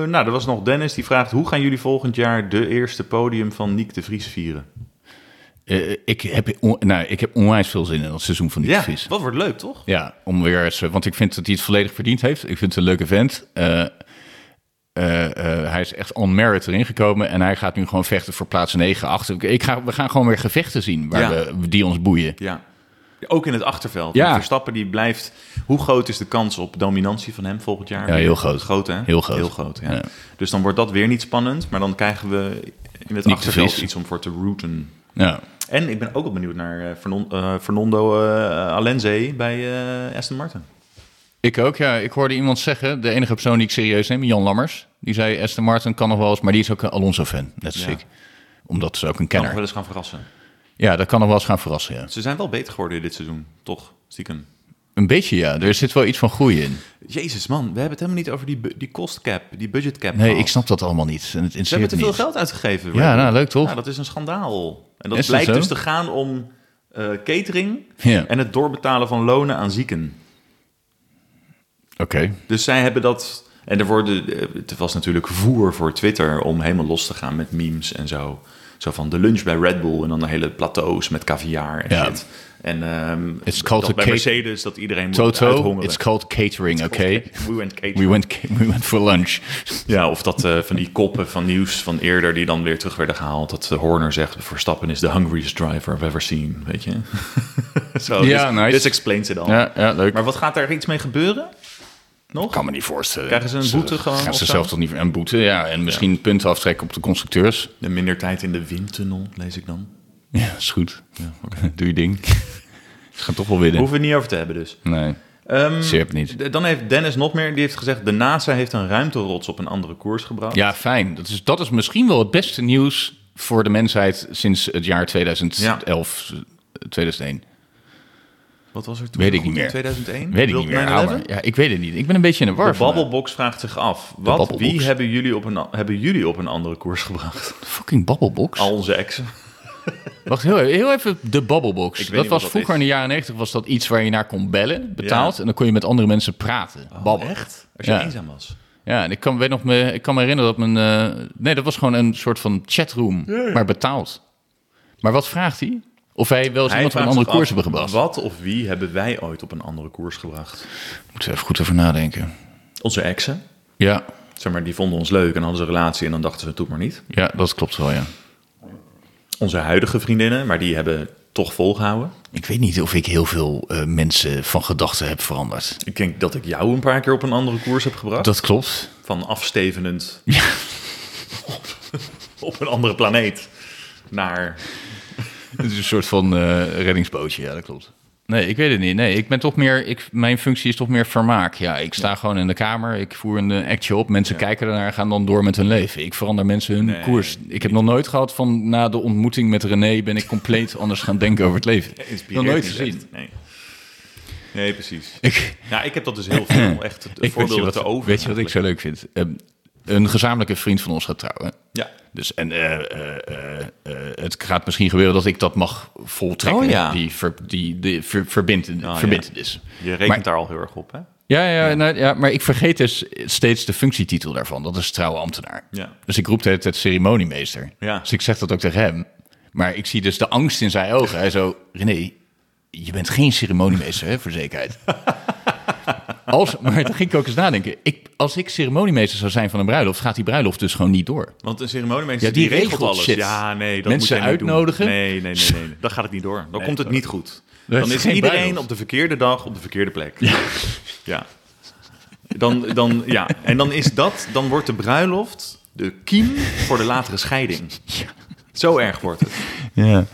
nou, er was nog Dennis die vraagt: hoe gaan jullie volgend jaar de eerste podium van Niek de Vries vieren?
Eh, ik, heb on- nou, ik heb onwijs veel zin in dat seizoen van die
Ja,
vis.
wat wordt leuk toch?
Ja, om weer eens, eh, want ik vind dat hij het volledig verdiend heeft. Ik vind het een leuke vent. Eh, eh, eh, hij is echt on merit erin gekomen en hij gaat nu gewoon vechten voor plaats 9, 8. Ik- Ik ga, we gaan gewoon weer gevechten zien waar
Ja.
we, die ons boeien.
Ja. Ook in het achterveld.
Ja.
Verstappen die blijft. Hoe groot is de kans op dominantie van hem volgend jaar?
Ja, heel groot.
Groot, hè?
Heel groot.
ja.
Ja.
Dus dan wordt dat weer niet spannend, maar dan krijgen we in het
Niek de
achterveld
Vries.
iets om voor te rooten.
Ja.
En ik ben ook wel benieuwd naar eh, Fernon- eh, Fernando eh, Alenze bij eh, Aston Martin.
Ik ook, ja. Ik hoorde iemand zeggen, de enige persoon die ik serieus neem, Jan Lammers. Die zei, Aston Martin kan nog wel eens, maar die is ook een Alonso-fan, net als
Ja.
ik. Omdat ze ook een
Kan nog
kenner.
wel eens gaan verrassen.
Ja, dat kan nog wel eens gaan verrassen, ja.
Ze zijn wel beter geworden dit seizoen, toch? Stiekem.
Een beetje, ja. Er zit wel iets van groei in.
Jezus man, we hebben het helemaal niet over die, bu- die kostcap, die budgetcap.
Nee,
gehad.
ik snap dat allemaal niet. En het
Oh. Ze hebben
interesseert
te
me
veel
niet.
geld uitgegeven.
Ja,
Red Bull.
nou, leuk toch?
Ja, dat is een schandaal. En dat
Is dat
blijkt
zo?
dus te gaan om eh, catering
Ja.
en het doorbetalen van lonen aan zieken.
Oké.
Dus zij hebben dat. En er worden, eh, het was natuurlijk voer voor Twitter om helemaal los te gaan met memes en zo. Zo van de lunch bij Red Bull en dan de hele plateaus met caviar en
Ja.
shit. En ehm
It's called
dat
a
bij
cat-
Mercedes dat iedereen moet
Toto,
uithongeren.
it's called catering, oké?
We went catering.
We, went, ca- we went for lunch.
Ja, of dat eh, van die koppen van nieuws van eerder die dan weer terug werden gehaald. Dat eh, Horner zegt, Verstappen is the hungriest driver I've ever seen, weet je. [laughs] Zo,
Ja,
this,
nice.
this explains it al.
Ja, ja leuk.
Maar wat gaat daar iets mee gebeuren? Nog?
kan me niet voorstellen.
Krijgen ze een boete gewoon
Gaan
of
ze
zo?
zelf toch niet... Een boete, ja. En misschien punten aftrekken op de constructeurs.
En minder tijd in de windtunnel, lees ik dan.
Ja, is goed. Doe je ding. [laughs] ze gaan toch wel winnen.
Hoeven we het niet over te hebben dus.
Nee,
Ehm,
zeer het niet.
d- dan heeft Dennis nog meer, die heeft gezegd... de NASA heeft een ruimterots op een andere koers gebracht.
Ja, fijn. Dat is, dat is misschien wel het beste nieuws voor de mensheid sinds het jaar 2011, 2001.
Wat was er toen?
Weet ik
nog?
niet meer.
2001?
Weet ik
Wilt
niet meer.
9-11?
hou maar. Ja, ik weet het niet. Ik ben een beetje in de war.
De
vandaag.
babbelbox vraagt zich af. Wat,
babbelbox.
wie hebben jullie, op een, a- hebben jullie op een andere koers gebracht?
Fucking babbelbox.
Al onze exen.
Wacht, heel even, heel even de babbelbox.
Ik weet
Dat
niet wat
was
dat
vroeger
is.
in de jaren 90 was dat iets waar je naar kon bellen, betaald. En dan kon je met andere mensen praten. babbelen.
Oh, Echt? Als je
Ja.
eenzaam was.
Ja, en ik kan, weet nog, me, ik kan me herinneren dat mijn... eh, nee, dat was gewoon een soort van chatroom, maar betaald. Maar wat vraagt hij? Of wij wel eens iemand op een
vraagt
andere
zich
koers
af,
hebben gebracht.
Wat of wie hebben wij ooit op een andere koers gebracht?
Moeten we even goed over nadenken.
Onze exen.
Ja,
Zeg maar, die vonden ons leuk en hadden ze een relatie en dan dachten ze, doe maar niet.
ja dat klopt wel, ja.
Onze huidige vriendinnen, maar die hebben toch volgehouden.
Ik weet niet of ik heel veel eh, mensen van gedachten heb veranderd.
Ik denk dat ik jou een paar keer op een andere koers heb gebracht.
Dat klopt.
Van afstevenend [laughs] op, op een andere planeet naar...
Het is een soort van eh, reddingsbootje, ja, dat klopt. Nee, ik weet het niet. Nee, ik ben toch meer, ik, mijn functie is toch meer vermaak. Ja, ik sta gewoon in de kamer, ik voer een eh, actje op, mensen kijken ernaar, gaan dan door met hun leven. Ik verander mensen hun koers. Ik heb nog nooit gehad van na de ontmoeting met René ben ik compleet [laughs] anders gaan denken over het leven. Nog
Inspireert
nooit
niet
gezien.
echt. Nee. nee, precies.
Ik,
Ja, ik heb dat dus heel veel. Echt het
ik weet, je
voorbeeld
wat,
te over.
weet je wat ik zo leuk vind? Ehm, een gezamenlijke vriend van ons gaat trouwen.
Ja.
Dus en eh, eh, eh, eh, het gaat misschien gebeuren dat ik dat mag voltrekken.
Oh, ja.
Die, ver, die, die ver, verbindt verbintenis.
Je rekent
Maar-
daar al heel erg op, hè?
Oh, Ja, ja, nou, ja, maar ik vergeet dus steeds de functietitel daarvan. Dat is trouwe ambtenaar.
Ja.
Dus ik roep de hele tijd ceremoniemeester.
Ja.
Dus ik zeg dat ook tegen hem. Maar ik zie dus de angst in zijn ogen. Hij zo, René, je bent geen ceremoniemeester, hè, voor zekerheid.
[laughs]
Als, maar dan ging ik ook eens nadenken. Ik, als ik ceremoniemeester zou zijn van een bruiloft, gaat die bruiloft dus gewoon niet door.
Want een ceremoniemeester
Ja,
die,
die
regelt,
regelt
alles.
shit.
Ja, nee, dat
Mensen
moet jij niet doen.
uitnodigen.
Nee, nee, nee, nee, nee. Dan gaat het niet door. Dan komt het niet goed.
Dat
Dan
is
is
geen
iedereen
bruiloft.
op de verkeerde dag op de verkeerde plek. Ja. Dan, dan, ja. En dan is dat, dan wordt de bruiloft de kiem voor de latere scheiding. Zo erg wordt het.
Ja.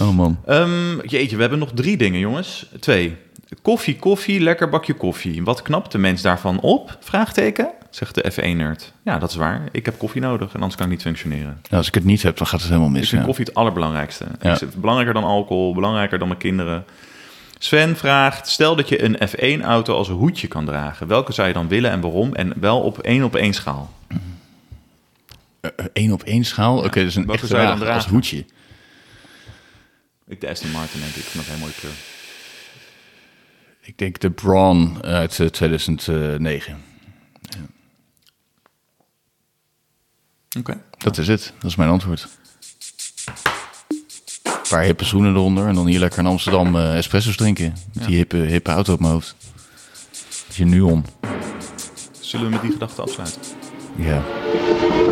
Oh man.
Ehm, jeetje, we hebben nog drie dingen, jongens. Twee. Koffie, koffie, lekker bakje koffie. Wat knapt de mens daarvan op? Vraagteken, zegt de F1-nerd. Ja, dat is waar. Ik heb koffie nodig en anders kan ik niet functioneren.
Nou, als ik het niet heb, dan gaat het helemaal mis.
Ik vind
ja.
koffie het allerbelangrijkste.
Ja.
Is het belangrijker dan alcohol, belangrijker dan mijn kinderen. Sven vraagt, stel dat je een F1-auto als hoedje kan dragen. Welke zou je dan willen en waarom? En wel op één op één schaal.
Eén op één schaal? Oké, dat is een
Welke
echte
zou je dan
wagen als
dragen?
hoedje.
Ik de Aston Martin, denk ik. Ik vind dat een mooie kleur.
Ik denk de Braun uit eh, 2009.
Oké.
Dat is het. Dat is mijn antwoord. Een paar hippe zoenen eronder en dan hier lekker in Amsterdam eh, espresso's drinken. Met die hippe, hippe auto op mijn hoofd. Dat is je nu om.
Zullen we met die gedachte afsluiten?
Ja.